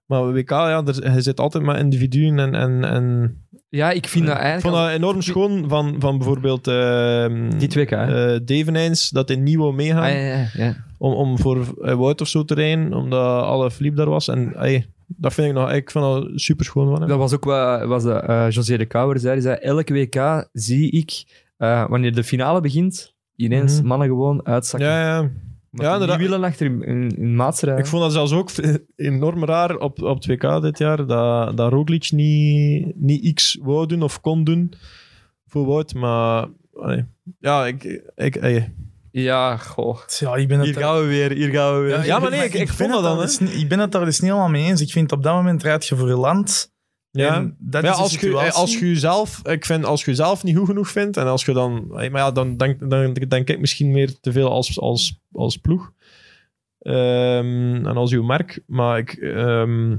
Speaker 6: Maar WK, ja, er, je zit altijd met individuen en... en, en
Speaker 5: Ja, ik vind dat
Speaker 6: ik
Speaker 5: eigenlijk...
Speaker 6: vond
Speaker 5: al-
Speaker 6: dat enorm schoon van, van bijvoorbeeld... ehm
Speaker 5: Die twee keer, hè?
Speaker 6: eh, Deveneins, dat in Nieuw meegaan
Speaker 5: Ah, ja, ja, ja.
Speaker 6: om, om voor eh, Wout of zo te rijden, omdat alle Philippe daar was. En allee, dat vind ik nog... Ik vind dat super schoon van hem.
Speaker 5: Dat was ook wat, was, de, eh, José de Kouwer zei. Hij zei, elke WK zie ik, eh, wanneer de finale begint, ineens
Speaker 6: Mhm.
Speaker 5: mannen gewoon uitzakken.
Speaker 6: ja, ja.
Speaker 5: Omdat
Speaker 6: ja,
Speaker 5: die
Speaker 6: inderdaad.
Speaker 5: niet willen achter in, in, in maats rijden.
Speaker 6: Ik vond dat zelfs ook enorm raar op, op het WK dit jaar, dat, dat Roglic niet, niet X wou doen of kon doen voor Wout, maar allee. ja, ik... ik ey.
Speaker 5: Ja, goh.
Speaker 4: Ja, ik ben het daar-
Speaker 5: we weer, hier gaan we weer.
Speaker 6: Ja, maar nee, ik- ik
Speaker 4: ben
Speaker 6: vond
Speaker 4: het
Speaker 6: dat dan,
Speaker 4: daar
Speaker 6: hè.
Speaker 4: dus niet- ik ben het daar dus niet helemaal mee eens. Ik vind op dat moment rijd je voor je land.
Speaker 6: ja.
Speaker 4: En dat
Speaker 6: Maar ja,
Speaker 4: is de
Speaker 6: als je,
Speaker 4: situatie.
Speaker 6: ey, als je jezelf, ik vind, als je jezelf niet goed genoeg vindt, en als je dan, ey, maar ja, dan denk, dan denk ik misschien meer te veel als, als, als ploeg Ehm, en als uw merk, maar ik, ehm,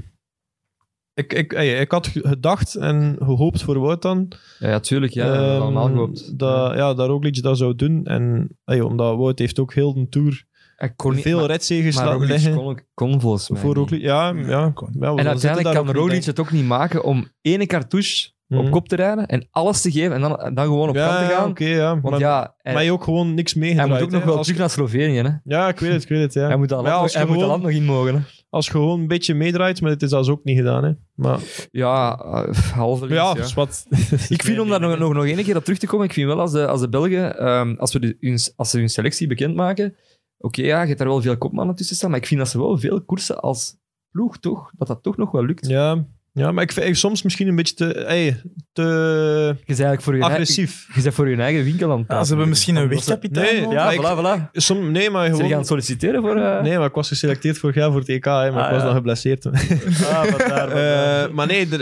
Speaker 6: ik, ik, ey, ik had gedacht en gehoopt voor Wout dan,
Speaker 5: Ja, tuurlijk. Ja, dat hebben we
Speaker 6: Ehm,
Speaker 5: allemaal gehoopt.
Speaker 6: Dat, ja, dat Roglic dat zou doen. En ey, omdat Wout heeft ook heel de Tour
Speaker 5: Ik kon niet,
Speaker 6: veel
Speaker 5: maar,
Speaker 6: redzegers
Speaker 5: maar
Speaker 6: laten
Speaker 5: Roglic
Speaker 6: liggen
Speaker 5: kon, ook- kon volgens mij
Speaker 6: voor
Speaker 5: niet.
Speaker 6: Roglic. Ja, ja. ja
Speaker 4: kon.
Speaker 6: we
Speaker 5: En
Speaker 6: zitten
Speaker 5: uiteindelijk
Speaker 6: daar
Speaker 5: kan
Speaker 6: ook niet
Speaker 5: Roglic
Speaker 6: bij.
Speaker 5: het ook niet maken om ene cartouche
Speaker 6: Mhm.
Speaker 5: op kop te rijden en alles te geven en dan, en dan gewoon op
Speaker 6: ja,
Speaker 5: kant te
Speaker 6: ja,
Speaker 5: gaan.
Speaker 6: oké, ja.
Speaker 5: Want
Speaker 6: maar,
Speaker 5: ja, hij,
Speaker 6: maar je ook gewoon niks
Speaker 5: hij
Speaker 6: meegedraaid.
Speaker 5: moet ook nog
Speaker 6: hè.
Speaker 5: wel
Speaker 6: Als-
Speaker 5: terug naar Slovenië. Hè.
Speaker 6: Ja, ik weet het, ik weet het, ja.
Speaker 5: Hij moet dat
Speaker 6: Maar ja,
Speaker 5: land, nog-
Speaker 6: als je
Speaker 5: hij moet dat
Speaker 6: gewoon-
Speaker 5: land nog in mogen. Hè.
Speaker 6: Als je gewoon een beetje meedraait, maar het is zelfs ook niet gedaan, hè. Maar
Speaker 5: Ja, eh, halve
Speaker 6: maar ja,
Speaker 5: links, ja.
Speaker 6: is wat...
Speaker 5: Ik vind, om daar nog, nog, nog één keer op terug te komen, ik vind wel als de, als de Belgen, ehm, als, we de- hun, als ze hun selectie bekendmaken, oké, ja, je hebt daar wel veel kopmannen tussen staan, maar ik vind dat ze wel veel koersen als ploeg, toch? Dat dat toch nog wel lukt.
Speaker 6: Ja, ja, maar ik vind ey, soms misschien een beetje te, ey, te
Speaker 5: Je bent eigenlijk voor je,
Speaker 6: agressief.
Speaker 5: Je bent voor je eigen winkel aan het
Speaker 4: Ja, ze hebben misschien een wegkapitein.
Speaker 6: Nee,
Speaker 4: nodig.
Speaker 5: Ja,
Speaker 6: Maar ik-
Speaker 5: voilà, voilà.
Speaker 6: Som, nee, maar
Speaker 5: Ze gaan
Speaker 6: gewoon...
Speaker 5: solliciteren voor... eh,
Speaker 6: Nee, maar ik was geselecteerd vorig jaar voor het EK, hè, maar
Speaker 5: Ah,
Speaker 6: ik was
Speaker 5: ja.
Speaker 6: dan geblesseerd.
Speaker 5: Ah, wat daar, wat daar.
Speaker 6: Eh, maar nee, er,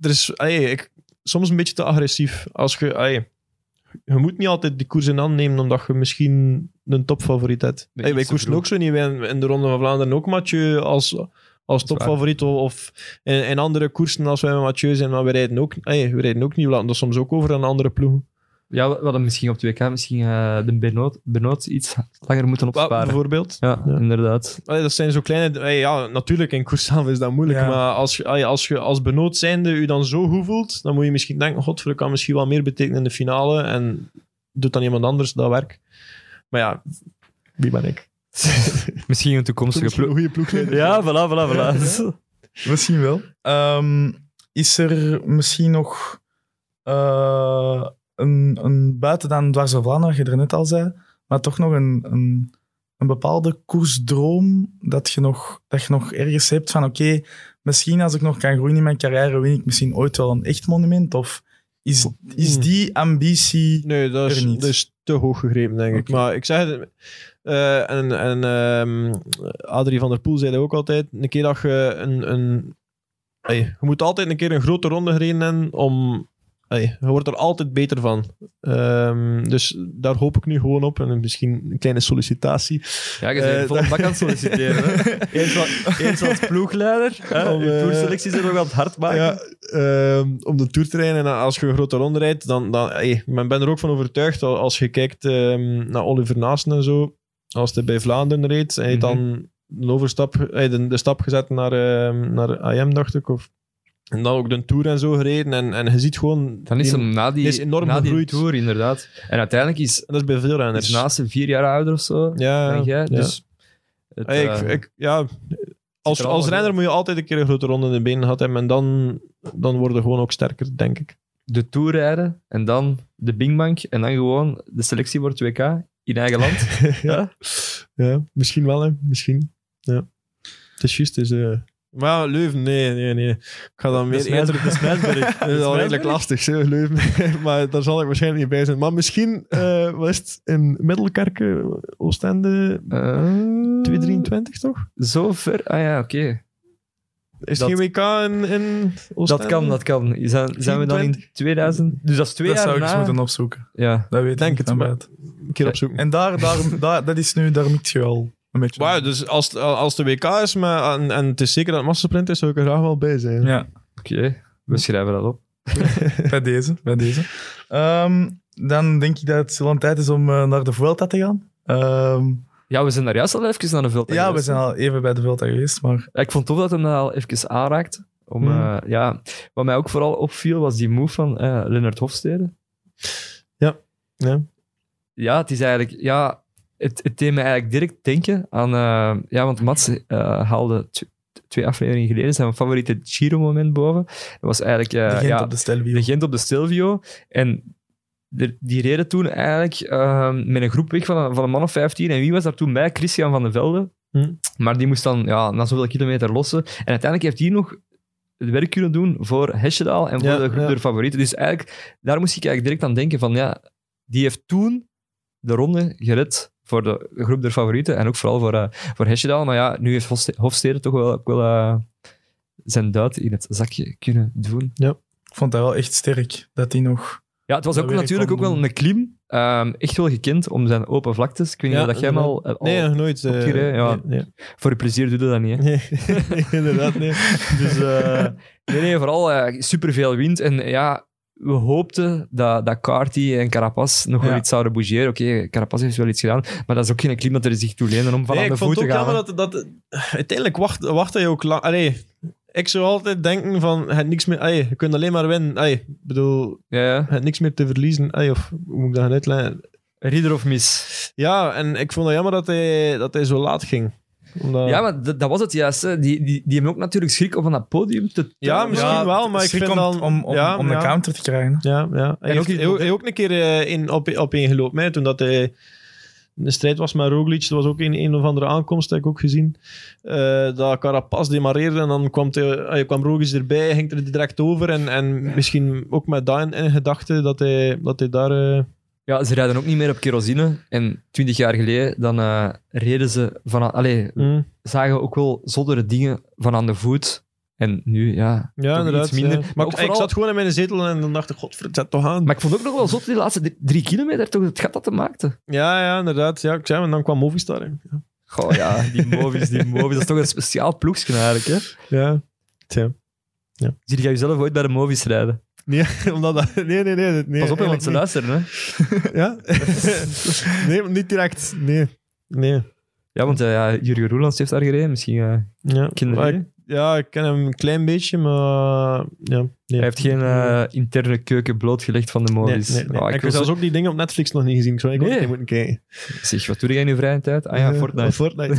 Speaker 6: er is ey, ik, soms een beetje te agressief. Als je, ey, je moet niet altijd die koers in hand nemen, omdat je misschien een topfavoriet hebt.
Speaker 5: Nee,
Speaker 6: Ey, wij
Speaker 5: iets te
Speaker 6: koersen
Speaker 5: vroeg.
Speaker 6: ook zo niet. Wij in, in de Ronde van Vlaanderen ook Mathieu als, als
Speaker 5: is waar.
Speaker 6: topfavoriet. Of, of in, in andere koersen als wij met Mathieu zijn, maar we rijden ook, ey, we rijden ook niet. We laten dat soms ook over aan andere ploegen.
Speaker 5: Ja, we we hadden misschien op 2K misschien eh, de Benoot, Benoot iets langer moeten
Speaker 6: Wel,
Speaker 5: opsparen.
Speaker 6: bijvoorbeeld.
Speaker 5: Ja, inderdaad.
Speaker 6: Allee, dat zijn zo kleine... allee, ja, natuurlijk, in koers zelf is dat moeilijk.
Speaker 4: Ja.
Speaker 6: Maar als je allee, als, je als benood zijnde je dan zo goed voelt, dan moet je misschien denken, godver, ik kan misschien wel meer betekenen in de finale. En doet dan iemand anders dat werk. Maar ja, wie ben ik?
Speaker 5: Misschien een toekomstige ploeg.
Speaker 6: Goede ploeg.
Speaker 5: Ja, voilà, voilà, voilà.
Speaker 4: Misschien wel. Ehm, is er misschien nog eh, een, een buiten dan Dwars door Vlaanderen, wat je er net al zei, maar toch nog een, een, een bepaalde koersdroom dat je nog, dat je nog ergens hebt van oké, misschien als ik nog kan groeien in mijn carrière, win ik misschien ooit wel een echt monument? Of is, is die ambitie...
Speaker 6: Nee, dat is,
Speaker 4: Er niet.
Speaker 6: dat is te hoog gegrepen, denk ik.
Speaker 4: Oké.
Speaker 6: Maar ik zeg het... eh, en en ehm, Adrie van der Poel zei dat ook altijd. Een keer dat je een... een ey, je moet altijd een keer een grote ronde gereden hebben om... ey, je wordt er altijd beter van. Ehm, dus daar hoop ik nu gewoon op. En misschien een kleine sollicitatie.
Speaker 5: Ja, je bent
Speaker 6: Eh,
Speaker 5: vol bak aan het solliciteren. hè. Eens, wat- eens als ploegleider. Hè?
Speaker 6: Om,
Speaker 5: je
Speaker 6: eh,
Speaker 5: toerselecties er nog aan het hard maken.
Speaker 6: Ja, ehm, om de tour te rijden. En als je een grote ronde rijdt, dan... dan ey, men ben er ook van overtuigd, al- als je kijkt ehm, naar Oliver Naasten en zo, als hij bij Vlaanderen reed, hij
Speaker 5: Mhm.
Speaker 6: heeft dan een overstap, hij heeft de, de stap gezet naar, ehm, naar AM, dacht ik. Of, en dan ook de tour en zo gereden. En, en je ziet gewoon...
Speaker 5: Dan is
Speaker 6: die-
Speaker 5: hem na die,
Speaker 6: die is enorm
Speaker 5: na die
Speaker 6: gegroeid.
Speaker 5: tour, inderdaad. En uiteindelijk is,
Speaker 6: en dat is bij veel renners.
Speaker 5: is naast hem vier jaar ouder of zo.
Speaker 6: ja,
Speaker 5: dan jij.
Speaker 6: ja.
Speaker 5: Dus het,
Speaker 6: Hey,
Speaker 5: eh,
Speaker 6: ik, ik, ja, als,
Speaker 5: er allemaal
Speaker 6: als renner
Speaker 5: uit.
Speaker 6: moet je altijd een keer een grote ronde in de benen gehad hebben. En dan, dan worden gewoon ook sterker, denk ik.
Speaker 5: de tour rijden en dan de bingbank en dan gewoon de selectie wordt WK in eigen land.
Speaker 6: ja. ja, misschien wel, hè. Misschien. Ja. Het is juist, het is... eh, Maar Leuven, nee, nee, nee. Ik ga dan meer eerder...
Speaker 5: de Smijsberg.
Speaker 6: Dat is al redelijk lastig, hè, Leuven. maar daar zal ik waarschijnlijk niet bij zijn. Maar misschien, eh wat is het, in Middelkerken, Oostende, 223 toch?
Speaker 5: Eh, Zo ver? Ah ja, oké.
Speaker 6: Is
Speaker 5: Dat-
Speaker 6: er geen WK in, in Oostende?
Speaker 5: Dat kan, dat kan. Zijn, zijn we dan in 2000? Dus dat is twee
Speaker 4: dat
Speaker 5: jaar
Speaker 4: zou ik eens
Speaker 5: na-
Speaker 4: moeten opzoeken.
Speaker 5: Ja.
Speaker 4: Dat weet
Speaker 6: Denk
Speaker 4: ik
Speaker 6: het,
Speaker 4: niet
Speaker 6: maar-
Speaker 4: buiten.
Speaker 6: Een keer opzoeken.
Speaker 4: En daar, daar, daar, dat is nu, daar mikt je al een beetje.
Speaker 6: Wauw, dus als, als de WK is, maar, en, en het is zeker dat het massasprint is, zou ik er graag wel bij zijn.
Speaker 4: Ja.
Speaker 5: Oké, we schrijven dat op.
Speaker 4: bij deze, bij deze. Ehm, dan denk ik dat het wel een tijd is om eh, naar de Vuelta te gaan. Ehm,
Speaker 5: Ja, we zijn daar juist al even naar de veld.
Speaker 4: ja, we zijn al even bij de Vuelta geweest, maar
Speaker 5: Ik vond tof dat hem dat al even aanraakt. Om,
Speaker 4: Hmm.
Speaker 5: eh, ja. Wat mij ook vooral opviel was die move van eh Lennart Hofstede.
Speaker 6: Ja, ja.
Speaker 5: Ja, het is eigenlijk... Ja, het, het deed me eigenlijk direct denken aan... eh, ja, want Mats eh, haalde tw- twee afleveringen geleden zijn favoriete Giro-moment boven. Dat was eigenlijk... eh,
Speaker 4: de Gent
Speaker 5: ja,
Speaker 4: op de Stelvio.
Speaker 5: de Gent op de Stelvio. En de- die reden toen eigenlijk ehm, met een groep weg van een, van een man of 15. En wie was daar toen bij? Christian van der Velde.
Speaker 6: Hm.
Speaker 5: Maar die moest dan ja, na zoveel kilometer lossen. En uiteindelijk heeft hij nog het werk kunnen doen voor Hesjedal en voor
Speaker 6: Ja,
Speaker 5: de groep
Speaker 6: ja.
Speaker 5: der favorieten. Dus eigenlijk, daar moest ik eigenlijk direct aan denken van, ja, die heeft toen de ronde gered voor de groep der favorieten en ook vooral voor, eh voor Hesjedal. Maar ja, nu heeft Hofste- Hofstede toch wel, ook wel eh, zijn duit in het zakje kunnen doen.
Speaker 4: Ik vond dat wel echt sterk, dat hij nog...
Speaker 5: Ja, het was
Speaker 4: Dat
Speaker 5: ook
Speaker 4: werk
Speaker 5: natuurlijk ook
Speaker 4: kon
Speaker 5: wel
Speaker 4: doen.
Speaker 5: een klim. Ehm, echt wel gekend om zijn open vlaktes. Ik weet niet
Speaker 6: Ja,
Speaker 5: of dat jij hem al, al-
Speaker 6: Nee, nog nooit. eh,
Speaker 5: opgereden, ja.
Speaker 6: nee, nee.
Speaker 5: Voor je plezier doe je dat niet, hè?
Speaker 6: Nee, inderdaad, nee.
Speaker 5: Dus, eh, nee, nee, vooral eh, superveel wind. En eh, ja, we hoopten dat, dat Carty en Carapaz nog wel
Speaker 4: Ja.
Speaker 5: iets zouden bougeren. Oké, Carapaz heeft wel iets gedaan, maar dat is ook geen klim dat er zich toe leende om van
Speaker 6: Nee,
Speaker 5: aan
Speaker 6: ik
Speaker 5: de
Speaker 6: vond
Speaker 5: voet
Speaker 6: het
Speaker 5: te
Speaker 6: ook
Speaker 5: gaan.
Speaker 6: jammer
Speaker 5: hè.
Speaker 6: dat, dat... Uiteindelijk wacht, wachtte je ook lang... Allee, ik zou altijd denken van... Het niks meer, allee, je kunt alleen maar winnen. Allee, ik bedoel,
Speaker 5: Ja, ja.
Speaker 6: het niks meer te verliezen. Allee, of hoe moet ik dat gaan uitleggen?
Speaker 5: Ridder of mis.
Speaker 6: Ja, en ik vond het jammer dat hij, dat hij zo laat ging. Omdat...
Speaker 5: Ja, maar dat, dat was het juist. hè. Die, die, die hebben ook natuurlijk schrik om van dat podium te
Speaker 6: Ja,
Speaker 5: tuimelen.
Speaker 6: misschien wel, maar ik
Speaker 4: schrik
Speaker 6: vind
Speaker 4: om,
Speaker 6: dan...
Speaker 4: Om, om,
Speaker 6: ja,
Speaker 4: om
Speaker 6: ja.
Speaker 4: de counter te krijgen.
Speaker 6: Ja, ja. Hij
Speaker 5: En
Speaker 6: heeft,
Speaker 5: ook-
Speaker 6: hij ook, hij ook een keer eh, in, op, op één gelopen, hè, toen dat hij in de strijd was met Roglic. Er was ook een, een of andere aankomst, heb ik ook gezien. eh, dat Carapaz demareerde en dan kwam, hij, hij kwam Roglic erbij, ging er direct over. En, en misschien ook met dat in, in gedachten dat hij, dat hij daar... eh,
Speaker 5: Ja, ze rijden ook niet meer op kerosine. En twintig jaar geleden, dan eh, reden ze van... Allee,
Speaker 6: mm,
Speaker 5: zagen ook wel zoddere dingen van aan de voet. En nu, ja.
Speaker 6: ja,
Speaker 5: toch
Speaker 6: inderdaad.
Speaker 5: iets minder.
Speaker 6: ja.
Speaker 5: Maar,
Speaker 6: Maar
Speaker 5: ook
Speaker 6: ik,
Speaker 5: vooral-
Speaker 6: ik zat gewoon in mijn zetel en dan dacht ik, godver, zet toch aan.
Speaker 5: maar ik vond ook nog wel zot die laatste drie- drie kilometer, toch? Het gat dat te maakte.
Speaker 6: Ja, ja, inderdaad. Ja, ik zei, en dan kwam Movistar. hè. Ja.
Speaker 5: Goh, ja, die movies, die movies. Dat is toch een speciaal ploegsken eigenlijk, hè?
Speaker 6: ja.
Speaker 5: Zie je jezelf ooit bij de movies rijden?
Speaker 6: Nee, omdat dat, nee, nee, nee. nee
Speaker 5: Pas op, hè,
Speaker 6: eigenlijk
Speaker 5: want ze
Speaker 6: niet.
Speaker 5: luisteren. Hè.
Speaker 6: Ja? nee, maar niet direct. Nee. Nee.
Speaker 5: Ja, want eh, ja, Jurgen Roelands heeft daar gereden. Misschien eh
Speaker 6: Ja. Maar
Speaker 5: kinderen.
Speaker 6: ik- ja, ik ken hem een klein beetje, maar eh, ja. Nee.
Speaker 5: Hij heeft geen eh, interne keuken blootgelegd van de
Speaker 6: Nee,
Speaker 5: modi's.
Speaker 6: nee,
Speaker 5: Ah,
Speaker 6: nee. ik
Speaker 5: ik
Speaker 6: heb
Speaker 5: wil
Speaker 6: zelfs
Speaker 5: zo-
Speaker 6: ook die dingen op Netflix nog niet gezien. Ik zou eigenlijk
Speaker 5: Nee.
Speaker 6: ook een keer moeten kijken.
Speaker 5: Zeg, wat doe jij in je vrije tijd? Ah ja,
Speaker 6: Eh,
Speaker 5: Fortnite.
Speaker 6: Fortnite.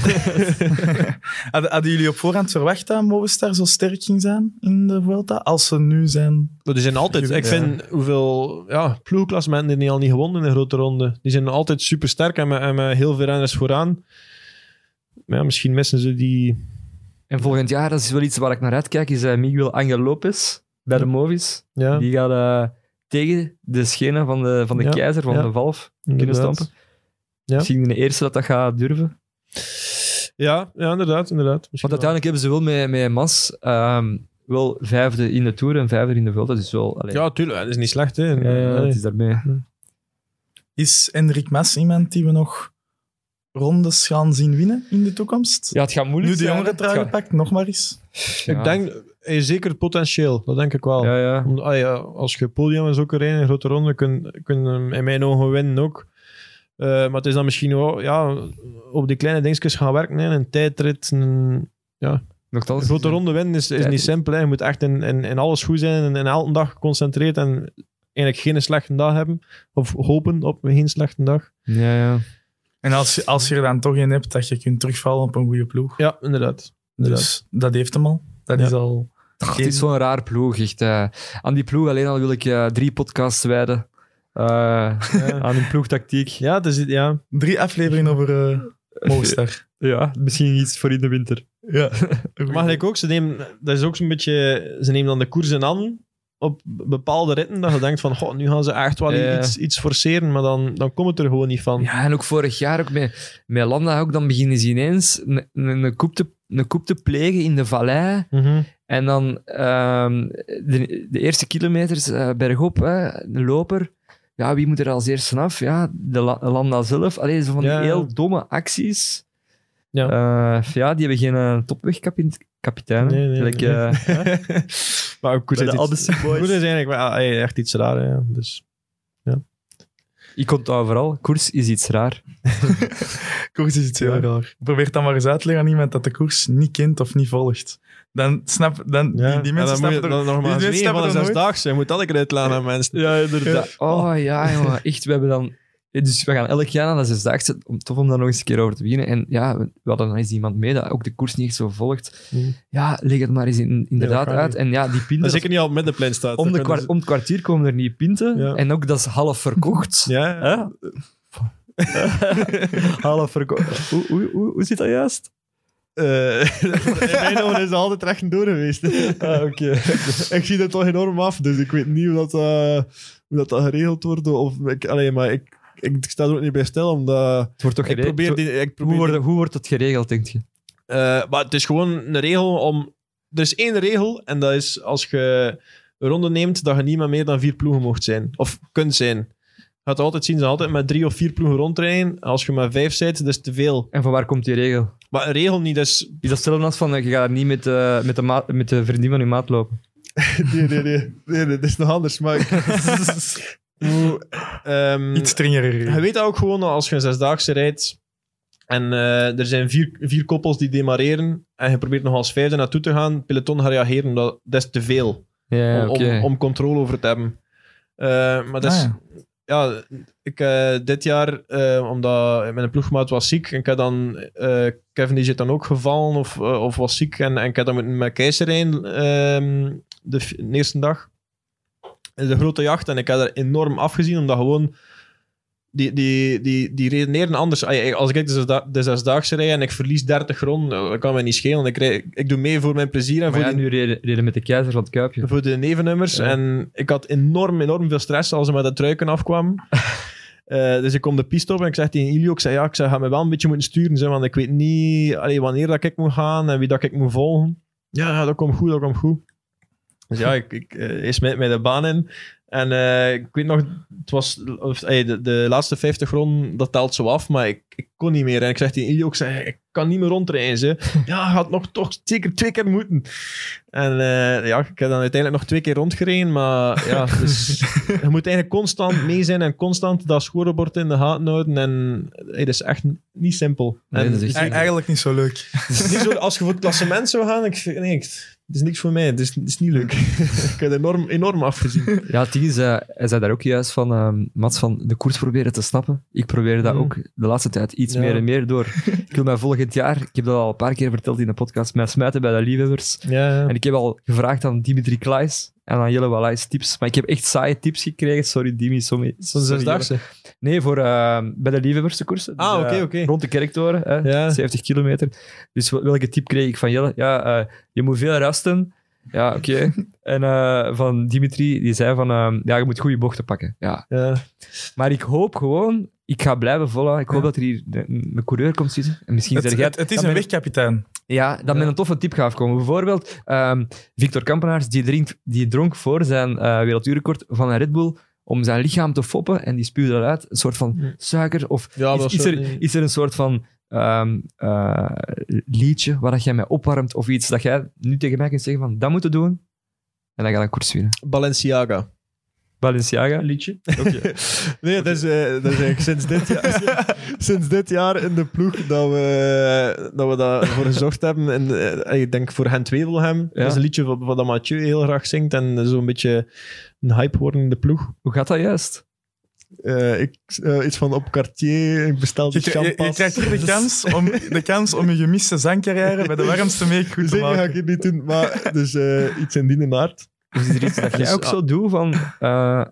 Speaker 4: Hadden, hadden jullie op voorhand verwacht dat Movistar zo sterk ging zijn in de Vuelta? Als ze nu zijn...
Speaker 6: Maar die zijn altijd,
Speaker 4: Ja.
Speaker 6: ik vind hoeveel ja, ploegklassementen die niet al niet gewonnen in een grote ronde. Die zijn altijd super sterk en met, en met heel veel renners vooraan. Maar ja, misschien missen ze die.
Speaker 5: En volgend jaar, dat is wel iets waar ik naar uitkijk, is eh, Miguel Angel Lopez bij de Movies.
Speaker 6: Ja,
Speaker 5: Die gaat eh, tegen de schenen van de, van de
Speaker 6: Ja,
Speaker 5: keizer, van
Speaker 6: ja.
Speaker 5: de Valf, kunnen
Speaker 6: inderdaad.
Speaker 5: stampen. Misschien de eerste dat dat gaat durven.
Speaker 6: Ja, ja, inderdaad. inderdaad. Misschien
Speaker 5: Want uiteindelijk hebben ze wel met, met Mas ehm, wel vijfde in de Tour en vijfde in de Vuelta. Dus wel...
Speaker 6: wel.
Speaker 5: allee,
Speaker 6: Ja, tuurlijk. Dat is niet slecht. Hè.
Speaker 5: ja, ja,
Speaker 6: Allee.
Speaker 5: het is daarmee.
Speaker 4: Is Enric Mas iemand die we nog rondes gaan zien winnen in de toekomst?
Speaker 5: Ja, het gaat moeilijk
Speaker 4: nu de jongeren trui gepakt, nog maar eens.
Speaker 6: Ik denk, hij heeft zeker potentieel. Dat denk ik wel.
Speaker 5: Ja, ja.
Speaker 6: Om- ah ja, als je podium is ook er een, een grote ronde, kun, kun je hem in mijn ogen winnen ook. Eh, maar het is dan misschien wel ja, op die kleine dingetjes gaan werken. Hè. Een tijdrit, een
Speaker 5: Nochtans,
Speaker 6: grote ronde winnen is, is niet
Speaker 5: Tijdrit.
Speaker 6: simpel. Hè. Je moet echt in, in, in alles goed zijn en, en elke dag geconcentreerd en eigenlijk geen slechte dag hebben. Of hopen op geen slechte dag.
Speaker 5: Ja, ja.
Speaker 4: En als je, als je er dan toch in hebt, dat je kunt terugvallen op een goede ploeg.
Speaker 6: Ja, inderdaad. inderdaad.
Speaker 4: Dus dat heeft hem al. Dat
Speaker 6: Ja.
Speaker 4: is al...
Speaker 5: Ach, het is zo'n raar ploeg, echt. eh. aan die ploeg alleen al wil ik eh, drie podcasts wijden. Eh,
Speaker 6: ja.
Speaker 5: aan hun ploegtactiek.
Speaker 6: ja, het is, ja.
Speaker 4: Drie afleveringen over eh Movistar.
Speaker 5: Ja, misschien iets voor in de winter.
Speaker 4: Ja.
Speaker 6: Maar gelijk ook, ze nemen, dat is ook zo'n beetje, ze nemen dan de koersen aan op bepaalde ritten, dat je denkt van, goh, nu gaan ze echt wel
Speaker 5: Ja.
Speaker 6: iets, iets forceren, maar dan, dan komt het er gewoon niet van.
Speaker 5: Ja, en ook vorig jaar ook met, met Landa ook, dan beginnen ze ineens een, een, een koep te, een koep te plegen in de vallei.
Speaker 6: Mhm.
Speaker 5: En dan ehm, de, de eerste kilometers eh, bergop, hè, de loper. Ja, wie moet er als eerste vanaf? Ja, de La- Landa zelf. Allee, zo van
Speaker 6: Ja.
Speaker 5: die heel domme acties.
Speaker 6: Ja.
Speaker 5: Eh, ja, die hebben geen eh, topwegkapitein.
Speaker 6: Nee, nee,
Speaker 5: Like,
Speaker 6: nee.
Speaker 5: eh,
Speaker 6: maar ook koers
Speaker 5: Bij
Speaker 6: is,
Speaker 5: de
Speaker 6: iets,
Speaker 5: Albacete Boys.
Speaker 6: koers is eigenlijk wel, ah, eh, echt iets raar, ja. Dus,
Speaker 5: ik kon het overal. Koers is iets raar.
Speaker 4: koers is iets heel
Speaker 6: Ja.
Speaker 4: raar. Probeer dan maar eens uit te leggen aan iemand dat de koers niet kent of niet volgt. Dan snap... Dan,
Speaker 6: ja.
Speaker 4: die, die mensen
Speaker 6: En dan moet je
Speaker 4: snappen er...
Speaker 6: dan nog maar
Speaker 4: die
Speaker 6: eens mee
Speaker 4: snappen
Speaker 6: van de
Speaker 4: dat nooit.
Speaker 6: zesdaagse. Je moet dat ik eruit laten aan mensen. Ja, inderdaad.
Speaker 5: Oh ja, jongen. Echt, we hebben dan... eh, Dus we gaan elk jaar naar de Zesdaagse, om, tof om daar nog eens een keer over te beginnen. En ja, we, we hadden dan eens iemand mee dat ook de koers niet echt zo volgt.
Speaker 6: Mhm.
Speaker 5: Ja, leg het maar eens in- inderdaad
Speaker 6: kan
Speaker 5: uit.
Speaker 6: niet.
Speaker 5: En Mm. ja, die pinten...
Speaker 6: Dat zeker niet al op middenplein staat.
Speaker 5: om, de
Speaker 6: Dan kunnen
Speaker 5: kwart- om het kwartier komen er niet pinten.
Speaker 6: Ja.
Speaker 5: En ook dat is half verkocht.
Speaker 6: ze- Ja,
Speaker 5: Hè? half verkocht. Hoe, hoe, hoe, hoe zit dat juist?
Speaker 6: Eh, Ah, in mijn ogen is het altijd recht en door geweest. ik zie dat toch enorm af, dus ik weet niet hoe dat, eh, hoe dat, dat geregeld wordt. Of, ik, allee, maar ik, ik sta er ook niet bij stil, omdat...
Speaker 5: Het wordt toch
Speaker 6: Ik
Speaker 5: geregeld?
Speaker 6: probeer die... Ik probeer
Speaker 5: hoe, wordt, hoe wordt het geregeld, denk je?
Speaker 6: eh, maar het is gewoon een regel om... Er is één regel, en dat is als je een ronde neemt, dat je niet met meer dan vier ploegen mocht zijn. Of kunt zijn. Je gaat altijd zien, ze altijd met drie of vier ploegen rondrijden. Als je met vijf bent, dat is te veel.
Speaker 5: En van waar komt die regel?
Speaker 6: Maar een regel niet, dat is
Speaker 5: Is dat hetzelfde als van, eh, je gaat daar niet met, eh, met, de maat- met de vriendin van je maat lopen?
Speaker 6: Nee, nee, nee. Nee, nee, dat is nog anders. Maar ik- Hoe, ehm,
Speaker 4: Iets strengere
Speaker 6: je
Speaker 4: regels.
Speaker 6: weet dat ook gewoon als je een zesdaagse rijdt en eh, er zijn vier, vier koppels die demareren en je probeert nog als vijfde naartoe te gaan, het peloton gaat reageren. Dat, dat is te veel
Speaker 5: Ja,
Speaker 6: om,
Speaker 5: oké.
Speaker 6: om, om controle over te hebben. Eh, maar dat is,
Speaker 4: Ah,
Speaker 6: ja, ik, eh, dit jaar, eh, omdat mijn ploegmaat was ziek, en ik had dan, eh, Kevin die zit dan ook gevallen of, eh, of was ziek, en, en ik had dan met, met Keizer rijden, ehm, de, f- de eerste dag. De grote jacht, en ik had er enorm afgezien, omdat gewoon... Die, die, die, die redeneren anders. Ah, ja, Als ik de zesda- de zesdaagse rij en ik verlies 30 ronden, dat kan mij niet schelen. Ik, rij- ik doe mee voor mijn plezier en
Speaker 5: Maar
Speaker 6: voor
Speaker 5: ja,
Speaker 6: die
Speaker 5: nu reden, reden met de keizer van het Kuipje.
Speaker 6: voor de nevennummers.
Speaker 5: Ja.
Speaker 6: En ik had enorm, enorm veel stress als ze met dat truiken afkwamen. Eh, dus ik kom de piste op en ik zeg tegen Ilio, ik zeg ja, ik zeg, ga me wel een beetje moeten sturen, zeg, want ik weet niet allee, wanneer dat ik moet gaan en wie dat ik moet volgen. Ja, ja, dat komt goed, dat komt goed. Dus ja, ik, ik eh, is met, met de baan in. En eh, ik weet nog, het was, of, ey, de, de laatste 50 rond, dat telt zo af, maar ik, ik kon niet meer. En ik zeg tegen Ilio, ik, zeg, ik kan niet meer rondreizen. Ja, gaat nog toch zeker twee keer moeten. En eh, ja, ik heb dan uiteindelijk nog twee keer rondgereden, maar ja, dus, je moet eigenlijk constant mee zijn en constant dat scorebord in de gaten houden. En hey, dat is echt niet simpel.
Speaker 5: Nee,
Speaker 6: En
Speaker 5: dat is-
Speaker 6: het
Speaker 4: Eigen- Eigenlijk niet zo leuk.
Speaker 6: is niet zo, als je voor het klassement zou gaan, ik, nee, ik- het is niks voor mij, het is, het is niet leuk. ik heb enorm, enorm afgezien.
Speaker 5: Ja, het ding is, eh, hij zei daar ook juist van, ehm, Mats, van de koers proberen te snappen. Ik probeer dat
Speaker 6: Mm.
Speaker 5: ook de laatste tijd iets
Speaker 6: Ja.
Speaker 5: meer en meer door. ik wil mij volgend jaar, ik heb dat al een paar keer verteld in de podcast, mij smijten bij de liefhebbers.
Speaker 6: Ja, ja.
Speaker 5: En ik heb al gevraagd aan Dimitri Klaes en aan Jelle Wallijs tips. Maar ik heb echt saaie tips gekregen. Sorry, Dimi. Sorry,
Speaker 6: Zo'n
Speaker 5: sorry,
Speaker 6: zesdaagse.
Speaker 5: Jelle. Nee, voor, ehm, bij de liefhebberse koersen. Dus,
Speaker 6: Ah, oké,
Speaker 5: eh,
Speaker 6: oké.
Speaker 5: Rond de kerktoren, hè,
Speaker 6: Ja.
Speaker 5: 70 kilometer. Dus wel- welke tip kreeg ik van Jelle? Ja, eh, je moet veel rusten. Ja, oké. en eh, van Dimitri, die zei van, ehm, ja, je moet goede bochten pakken. Ja.
Speaker 6: Ja.
Speaker 5: Maar ik hoop gewoon, ik ga blijven volgen. Ik hoop dat er hier een, een coureur komt zitten. En misschien
Speaker 4: Het,
Speaker 5: zeg jij-
Speaker 4: het, het is
Speaker 5: dan
Speaker 4: een
Speaker 5: ben-
Speaker 4: wegkapitein.
Speaker 5: ja, dat met een toffe tip gaat komen. Bijvoorbeeld, ehm, Victor Kampenaars, die, drinkt, die dronk voor zijn eh werelduurrecord van een Red Bull om zijn lichaam te foppen en die spuwde eruit een soort van suiker. Of
Speaker 6: Ja,
Speaker 5: is,
Speaker 6: dat
Speaker 5: is
Speaker 6: soort
Speaker 5: er,
Speaker 6: dingen.
Speaker 5: is er een soort van ehm, eh, liedje waar dat jij mij opwarmt of iets dat jij nu tegen mij kunt zeggen van dat moeten doen en dan ga ik koers winnen.
Speaker 6: Balenciaga.
Speaker 5: Balenciaga.
Speaker 6: Liedje? nee, dat is, eh, dat is eigenlijk sinds dit, jaar, sinds dit jaar in de ploeg dat we dat, we dat voor gezorgd hebben. En, eh, ik denk voor Gent Wevelgem.
Speaker 5: Ja.
Speaker 6: Dat is een liedje wat, wat dat Mathieu heel graag zingt. En zo'n beetje een hype worden in de ploeg.
Speaker 5: Hoe gaat dat juist?
Speaker 6: Eh, ik, eh, iets van op Cartier, ik bestel
Speaker 4: Je,
Speaker 6: de
Speaker 4: je, je krijgt hier de kans, om, de kans om je gemiste zangcarrière bij de warmste mee goed te
Speaker 6: Dus Zeker ga
Speaker 4: maken.
Speaker 6: ik het niet doen, maar dus eh, iets in die aard.
Speaker 5: Of is er iets dat jij
Speaker 6: Dus,
Speaker 5: ook zo doet van... eh,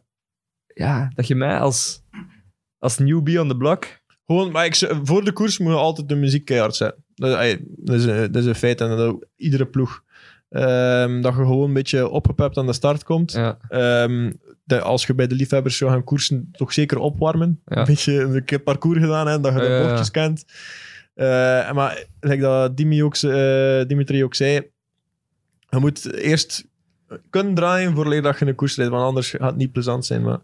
Speaker 5: ja, dat je mij als, als newbie on the block...
Speaker 6: Gewoon, maar ik, z- voor de koers moet je altijd de muziek keihard zetten. Dat, ey, dat, is, een- dat is een feit en dat doet iedere ploeg. Ehm, dat je gewoon een beetje opgepept aan de start komt.
Speaker 5: Ja.
Speaker 6: Ehm, de- als je bij de liefhebbers zou gaan koersen, toch zeker opwarmen.
Speaker 5: Ja.
Speaker 6: Een beetje een keer parcours gedaan, hè, dat je de
Speaker 5: Ja, ja, ja.
Speaker 6: bochtjes kent. Eh, maar like dat Dimi ook, ze- eh, Dimitri ook zei, je moet eerst kunnen draaien voordat dat je een koers rijdt, want anders gaat het niet plezant zijn. Maar,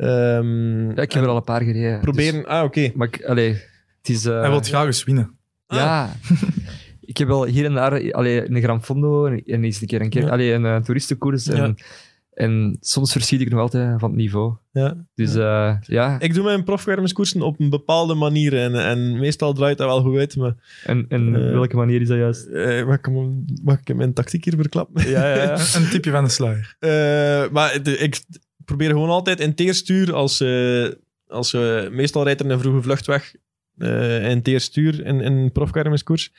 Speaker 6: ehm,
Speaker 5: Ja, ik heb er al een paar gereden.
Speaker 6: proberen...
Speaker 5: dus-
Speaker 6: ah, oké.
Speaker 5: maar ik, allee, het is... eh,
Speaker 4: Hij wil graag eens winnen.
Speaker 5: Ja.
Speaker 6: Ah.
Speaker 5: ik heb wel hier en daar allee, een Gran Fondo en en eens een keer een, keer,
Speaker 6: Ja.
Speaker 5: allee, een eh, toeristenkoers. En, en soms verschiet ik nog altijd van het niveau.
Speaker 6: Ja.
Speaker 5: Dus eh, ja,
Speaker 6: Ik doe mijn profkermiskoersen op een bepaalde manier en, en meestal draait dat wel goed uit, maar
Speaker 5: en, en
Speaker 6: Eh.
Speaker 5: welke manier is dat juist?
Speaker 6: eh, mag, ik hem- mag ik mijn tactiek hier verklappen?
Speaker 5: Ja, ja, ja.
Speaker 4: Een tipje van de sluier.
Speaker 6: Eh, maar de- ik probeer gewoon altijd in teerstuur, als, eh, als, eh, meestal rijdt er een vroege vlucht weg eh, in teerstuur in, in profkermiskoers.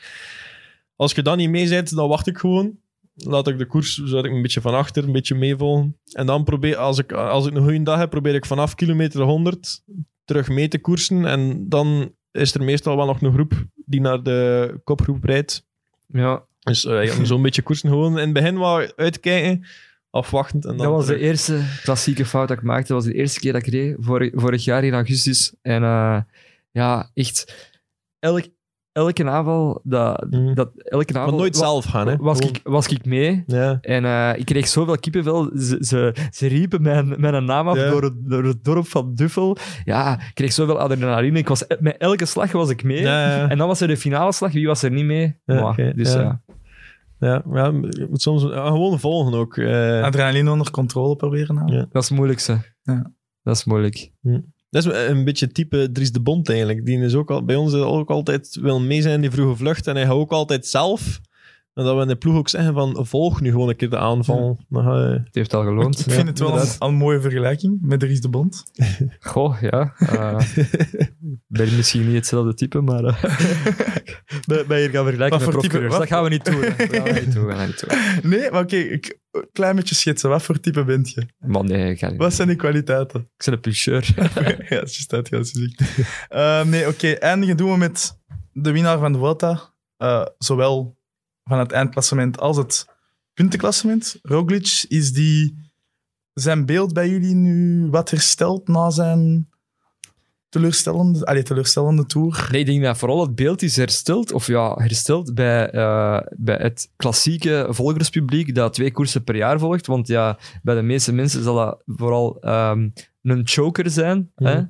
Speaker 6: Als je dan niet mee bent, dan wacht ik gewoon. Laat ik de koers, zodat ik een beetje van achter, een beetje meevolgen. En dan probeer, als ik, als ik een goede dag heb, probeer ik vanaf kilometer 100 terug mee te koersen. En dan is er meestal wel nog een groep die naar de kopgroep rijdt.
Speaker 5: ja.
Speaker 6: Dus eh, om zo'n beetje koersen gewoon in het begin wat uitkijken, afwachtend. En dan
Speaker 5: Dat was de
Speaker 6: terug.
Speaker 5: eerste klassieke fout dat ik maakte. Dat was de eerste keer dat ik reed, vorig, vorig jaar in augustus. En eh, ja, echt, elk, elke aanval, dat,
Speaker 6: Mm.
Speaker 5: dat, elke aanval
Speaker 6: Maar nooit
Speaker 5: wa-
Speaker 6: zelf gaan, hè?
Speaker 5: was,
Speaker 6: Gewoon.
Speaker 5: ik, was ik mee.
Speaker 6: Ja.
Speaker 5: En eh, ik kreeg zoveel kippenvel. Ze, ze, ze riepen mijn, mijn naam af
Speaker 6: Ja.
Speaker 5: door, het, door het dorp van Duffel. Ja, ik kreeg zoveel adrenaline. Ik was, met elke slag was ik mee.
Speaker 6: Ja, ja.
Speaker 5: En dan was er de finale slag. Wie was er niet mee?
Speaker 6: Ja,
Speaker 5: Mwah.
Speaker 6: oké,
Speaker 5: dus
Speaker 6: ja.
Speaker 5: ja.
Speaker 6: ja, maar ja, je moet soms ja, gewoon volgen ook. eh.
Speaker 4: Adrenaline onder controle proberen houden.
Speaker 6: Ja.
Speaker 5: dat is het moeilijkste.
Speaker 4: Ja.
Speaker 5: Dat is moeilijk.
Speaker 6: dat is een beetje type Dries de Bond eigenlijk. Die is ook al, bij ons ook altijd wil mee zijn in die vroege vlucht. En hij gaat ook altijd zelf. En dat we in de ploeg ook zeggen van volg nu gewoon een keer de aanval. Dan ga je-
Speaker 5: Het heeft al
Speaker 4: Ik
Speaker 5: geloond.
Speaker 4: vind het wel een,
Speaker 6: inderdaad.
Speaker 4: een mooie vergelijking met Dries de Bond.
Speaker 5: Goh, ja. eh, ik ben misschien niet hetzelfde type, maar... eh, bij, bij hier gaan
Speaker 4: Wat
Speaker 5: vergelijken met
Speaker 4: voor type-
Speaker 5: profcoureurs.
Speaker 4: wat-
Speaker 5: Dat gaan we niet doen. hè. Dat gaan we niet doen. we gaan niet doen.
Speaker 4: Nee, maar oké, ik- een klein beetje schetsen. Wat voor type bent je?
Speaker 5: Man, nee, ik ga niet.
Speaker 4: Wat zijn die kwaliteiten?
Speaker 5: Ik ben een puncheur.
Speaker 4: ja, het is juist dat, ja, het is ziek. Eh, nee, oké, eindigen doen we met de winnaar van de Vuelta. Eh, zowel van het eindklassement als het puntenklassement. Roglic, is die... Zijn beeld bij jullie nu wat hersteld na zijn teleurstellende, allee, teleurstellende tour.
Speaker 5: Nee, ik denk dat vooral het beeld is hersteld, of ja, hersteld bij, eh, bij het klassieke volgerspubliek dat twee koersen per jaar volgt. Want ja, bij de meeste mensen zal dat vooral ehm, een choker zijn. Hè?
Speaker 6: Mhm.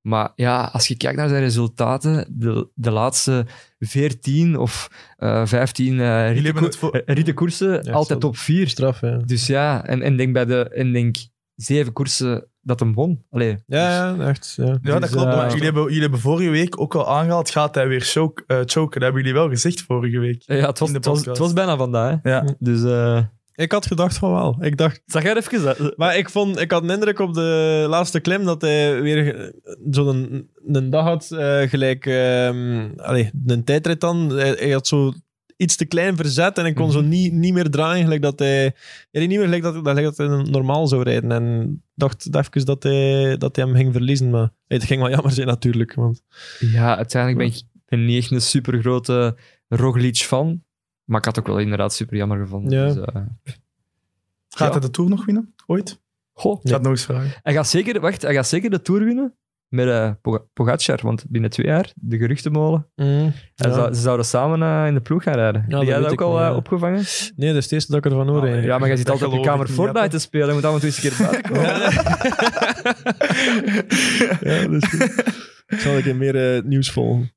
Speaker 5: Maar ja, als je kijkt naar zijn resultaten, de, de laatste 14 of eh 15 eh
Speaker 4: Jullie hebben het
Speaker 5: ritten-
Speaker 4: voor-
Speaker 5: rittenkoersen, altijd
Speaker 6: hetzelfde.
Speaker 5: top 4.
Speaker 6: Straf, ja.
Speaker 5: Dus ja, en, en denk bij de en denk zeven koersen dat hem won. Allee,
Speaker 6: Ja, ja, echt. Ja,
Speaker 4: Ja, dat
Speaker 6: Dus,
Speaker 4: klopt.
Speaker 6: eh,
Speaker 4: maar jullie hebben, jullie hebben vorige week ook al aangehaald, gaat hij weer choke, eh, choken. Dat hebben jullie wel gezegd vorige week.
Speaker 5: Ja, het was,
Speaker 4: In de
Speaker 5: het was,
Speaker 4: podcast.
Speaker 5: het was bijna vandaag. Hè?
Speaker 4: Ja.
Speaker 5: Dus eh
Speaker 6: Ik had gedacht van wel. Ik dacht,
Speaker 5: zag jij even dat?
Speaker 6: maar ik, vond, ik had een indruk op de laatste klim dat hij weer zo'n een dag had, eh, gelijk ehm, allee, een tijdrit dan. Hij, hij had zo iets te klein verzet en ik kon zo niet, niet meer draaien, gelijk dat hij... Hij reed niet meer gelijk dat, gelijk dat hij normaal zou rijden. En dacht even dat hij, dat hij hem ging verliezen, maar het ging wel jammer zijn natuurlijk. Want,
Speaker 5: Ja, uiteindelijk ben ik ben niet echt een supergrote Roglic fan. Maar ik had het ook wel inderdaad super jammer gevonden.
Speaker 6: Ja.
Speaker 5: Dus, eh,
Speaker 4: Gaat
Speaker 5: Ja.
Speaker 4: hij de tour nog winnen? Ooit? Ik
Speaker 5: goh,
Speaker 4: ga het nog eens vragen.
Speaker 5: hij, gaat zeker, wacht, hij gaat zeker de Tour winnen met eh, Poga- Pogacar. Want binnen twee jaar, de geruchtenmolen. Hij
Speaker 6: Mhm. Ja.
Speaker 5: zou- ze zouden samen eh, in de ploeg gaan rijden.
Speaker 6: dat
Speaker 5: Heb jij
Speaker 6: weet
Speaker 5: dat ook
Speaker 6: ik
Speaker 5: al
Speaker 6: wel,
Speaker 5: eh,
Speaker 6: ja.
Speaker 5: opgevangen?
Speaker 6: Nee, dat is het eerste dat ik ervan hoor.
Speaker 4: Ah,
Speaker 6: eigenlijk.
Speaker 5: Ja, maar jij zit
Speaker 4: dat
Speaker 5: altijd op je
Speaker 4: geloof
Speaker 5: kamer
Speaker 4: ik niet,
Speaker 5: Fortnite
Speaker 4: Jappe.
Speaker 5: te spelen. Je moet af en toe eens een keer buiten komen.
Speaker 6: ja, dat is goed. Ik zal een keer meer eh, het nieuws volgen.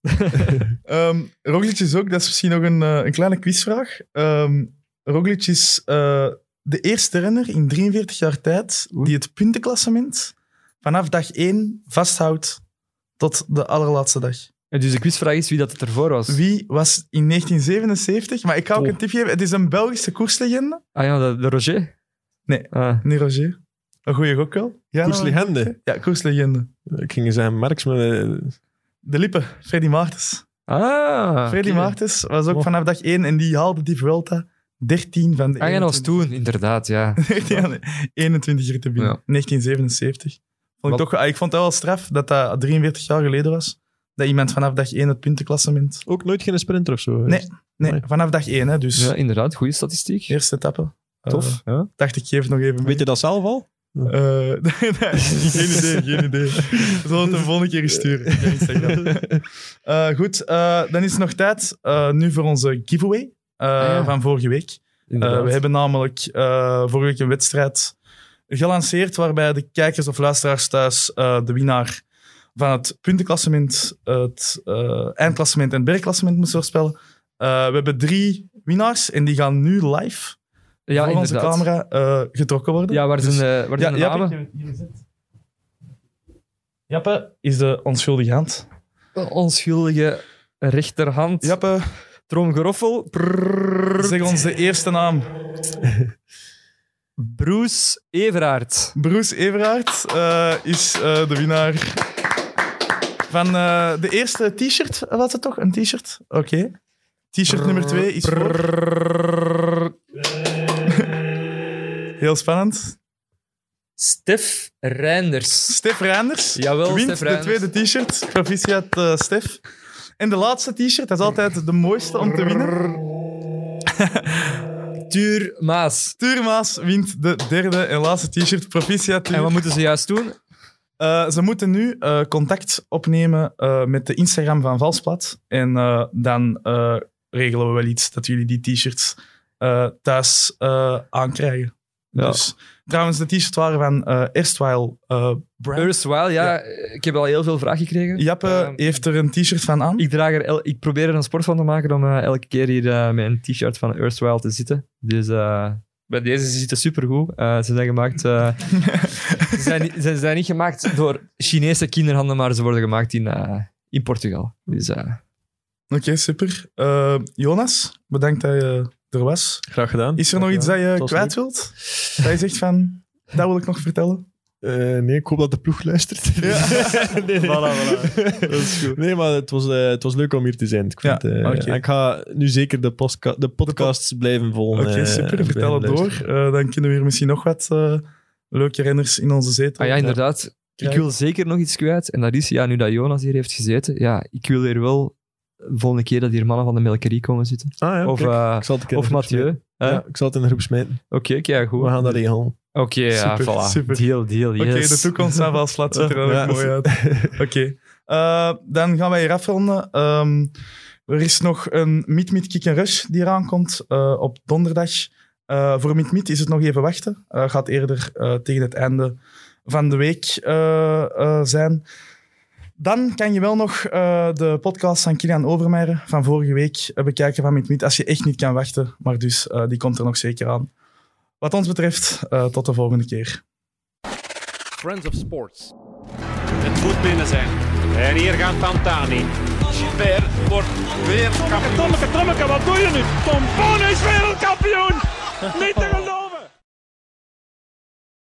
Speaker 4: Ehm Roglic is ook, dat is misschien nog een, eh, een kleine quizvraag. Ehm Roglic is eh, de eerste renner in 43 jaar tijd die het puntenklassement vanaf dag 1 vasthoudt tot de allerlaatste dag.
Speaker 5: En Dus de quizvraag is wie dat het ervoor was.
Speaker 4: Wie was in 1977, maar ik ga ook
Speaker 5: Oh.
Speaker 4: een tip geven, het is een Belgische koerslegende.
Speaker 5: Ah ja, de, de Roger?
Speaker 4: Nee.
Speaker 5: Ah.
Speaker 4: Nee, Roger. Een goeie gok wel. Ja, nou,
Speaker 6: Koerslegende.
Speaker 4: Ja, koerslegende.
Speaker 6: Ik ging zeggen, Merks, maar... eh,
Speaker 4: De Lippe, Freddy Maartens.
Speaker 5: Ah,
Speaker 4: Freddy
Speaker 5: oké.
Speaker 4: Maartens was ook
Speaker 6: Oh.
Speaker 4: vanaf dag 1 en die haalde die Vuelta 13 van de
Speaker 5: Ah ja, dat was
Speaker 4: 21.
Speaker 5: toen, inderdaad, ja.
Speaker 4: Ja, nee. 21 ritten binnen.
Speaker 5: Ja.
Speaker 4: 1977. Vond ik,
Speaker 5: Wat-
Speaker 4: toch, ah, ik vond dat wel straf dat dat 43 jaar geleden was. Dat iemand vanaf dag 1 het puntenklassement.
Speaker 6: Ook nooit geen sprinter of zo.
Speaker 4: Nee. Nee,
Speaker 6: Nee.
Speaker 4: vanaf dag 1, hè, dus.
Speaker 5: Ja, inderdaad, goede statistiek.
Speaker 4: Eerste etappe. Eh,
Speaker 5: Tof. Ja.
Speaker 4: dacht ik, geef het nog even mee.
Speaker 6: Weet je dat zelf al?
Speaker 4: Eh, geen idee, geen idee. We zullen het de volgende keer eens sturen. via Instagram. Eh, goed, eh, dan is het nog tijd eh, nu voor onze giveaway eh,
Speaker 5: Ah, ja.
Speaker 4: van vorige week.
Speaker 5: inderdaad.
Speaker 4: Eh, we hebben namelijk eh, vorige week een wedstrijd gelanceerd waarbij de kijkers of luisteraars thuis eh, de winnaar van het puntenklassement, het eh, eindklassement en het bergklassement moesten voorspellen. Eh, we hebben drie winnaars en die gaan nu live
Speaker 5: ja,
Speaker 4: voor onze
Speaker 5: inderdaad.
Speaker 4: camera eh, getrokken worden.
Speaker 5: Ja, waar
Speaker 4: Dus-
Speaker 5: zijn, eh, waar zijn de
Speaker 4: Jappe,
Speaker 5: namen?
Speaker 4: ik heb het hier gezet. Jappe is de onschuldige hand.
Speaker 5: Onschuldige rechterhand.
Speaker 4: Jappe,
Speaker 5: Tromgeroffel. Prrrr.
Speaker 4: zeg ons de eerste naam.
Speaker 5: Bruce Everaert.
Speaker 4: Bruce Everaert eh, is eh, de winnaar van eh, de eerste t-shirt. Was het toch? Een t-shirt? Oké. T-shirt nummer twee is voor... Heel spannend.
Speaker 5: Stef Reinders.
Speaker 4: Stef Reinders
Speaker 5: Jawel,
Speaker 4: wint
Speaker 5: Stef Reinders.
Speaker 4: de tweede t-shirt. Proficiat, eh, Stef. En de laatste t-shirt, dat is altijd de mooiste om te winnen.
Speaker 5: Tuur Maas.
Speaker 4: Tuurmaas wint de derde en laatste t-shirt. Proficiat, Tuur.
Speaker 5: En wat moeten ze juist doen?
Speaker 4: Eh, ze moeten nu eh, contact opnemen eh, met de Instagram van Valsplat. En eh, dan eh, regelen we wel iets dat jullie die t-shirts eh, thuis eh, aankrijgen.
Speaker 5: Ja.
Speaker 4: Dus, trouwens, de t-shirts waren van eh erstwhile eh, Brand.
Speaker 5: Erstwhile, ja, Ik heb al heel veel vragen gekregen.
Speaker 4: Jappe
Speaker 5: Ehm,
Speaker 4: heeft er een t-shirt van
Speaker 6: Hm?
Speaker 4: aan.
Speaker 5: Ik, draag er el- ik probeer er een sport van te maken om eh, elke keer hier eh, met een t-shirt van Earthwild te zitten. Dus eh, bij deze ze zitten supergoed. Eh ze zijn gemaakt... eh, ze, zijn, niet- ze zijn niet gemaakt door Chinese kinderhanden, maar ze worden gemaakt in, eh, in Portugal. Dus eh,
Speaker 4: Oké, super. Eh, Jonas, bedankt dat je er was.
Speaker 6: Graag gedaan.
Speaker 4: Is er nog iets dat je
Speaker 6: was
Speaker 4: kwijt wilt? Dat je zegt van, dat wil ik nog vertellen.
Speaker 6: Eh, nee, ik hoop dat de ploeg luistert. nee, nee.
Speaker 4: Dat is goed.
Speaker 6: Nee, maar het was, eh, het was leuk om hier te zijn. Ik, vind,
Speaker 4: Ja,
Speaker 6: eh,
Speaker 4: oké.
Speaker 6: ik ga nu zeker de, postka- de podcasts blijven volgen.
Speaker 4: Oké,
Speaker 6: eh,
Speaker 4: super.
Speaker 6: en
Speaker 4: Vertel het
Speaker 6: blijven
Speaker 4: door.
Speaker 6: luisteren.
Speaker 4: Eh, dan kunnen we hier misschien nog wat eh, leuke renners in onze zetel.
Speaker 5: ah ja, inderdaad. Ik
Speaker 4: Kijk.
Speaker 5: wil zeker nog iets kwijt. En dat is, ja, nu dat Jonas hier heeft gezeten, ja, ik wil hier wel de volgende keer dat hier mannen van de melkerie komen zitten.
Speaker 6: Ah, ja,
Speaker 5: Of,
Speaker 6: kijk.
Speaker 5: eh,
Speaker 6: ik zal het een keer
Speaker 5: of
Speaker 6: in de groep smijten.
Speaker 5: Mathieu. hè?
Speaker 6: Ja, ik zal het in de groep smijten.
Speaker 5: Oké, kijk, goed.
Speaker 6: We gaan dat regelen.
Speaker 5: Oké, ja,
Speaker 4: Super,
Speaker 5: voilà.
Speaker 4: super.
Speaker 5: Deal, deal, yes.
Speaker 4: Oké, de toekomst van Valslat ziet er
Speaker 5: Ja.
Speaker 4: ook mooi uit. Oké, Eh, dan gaan wij hier afronden. Ehm, er is nog een Meet Meet Kick and Rush die eraan komt eh, op donderdag. Eh, voor Meet Meet is het nog even wachten. Eh, gaat eerder eh, tegen het einde van de week eh, eh, zijn. Dan kan je wel nog eh, de podcast van Kilian Overmeijer van vorige week eh, bekijken van Meet Meet. Als je echt niet kan wachten. Maar dus, eh, die komt er nog zeker aan. Wat ons betreft, eh, tot de volgende keer.
Speaker 2: Friends of Sports. Het moet binnen zijn. En hier gaat Tantani. Gilbert wordt weer kampioen.
Speaker 3: Tommeke, Tommeke, wat doe je nu? Tom Bon is wereldkampioen! Niet de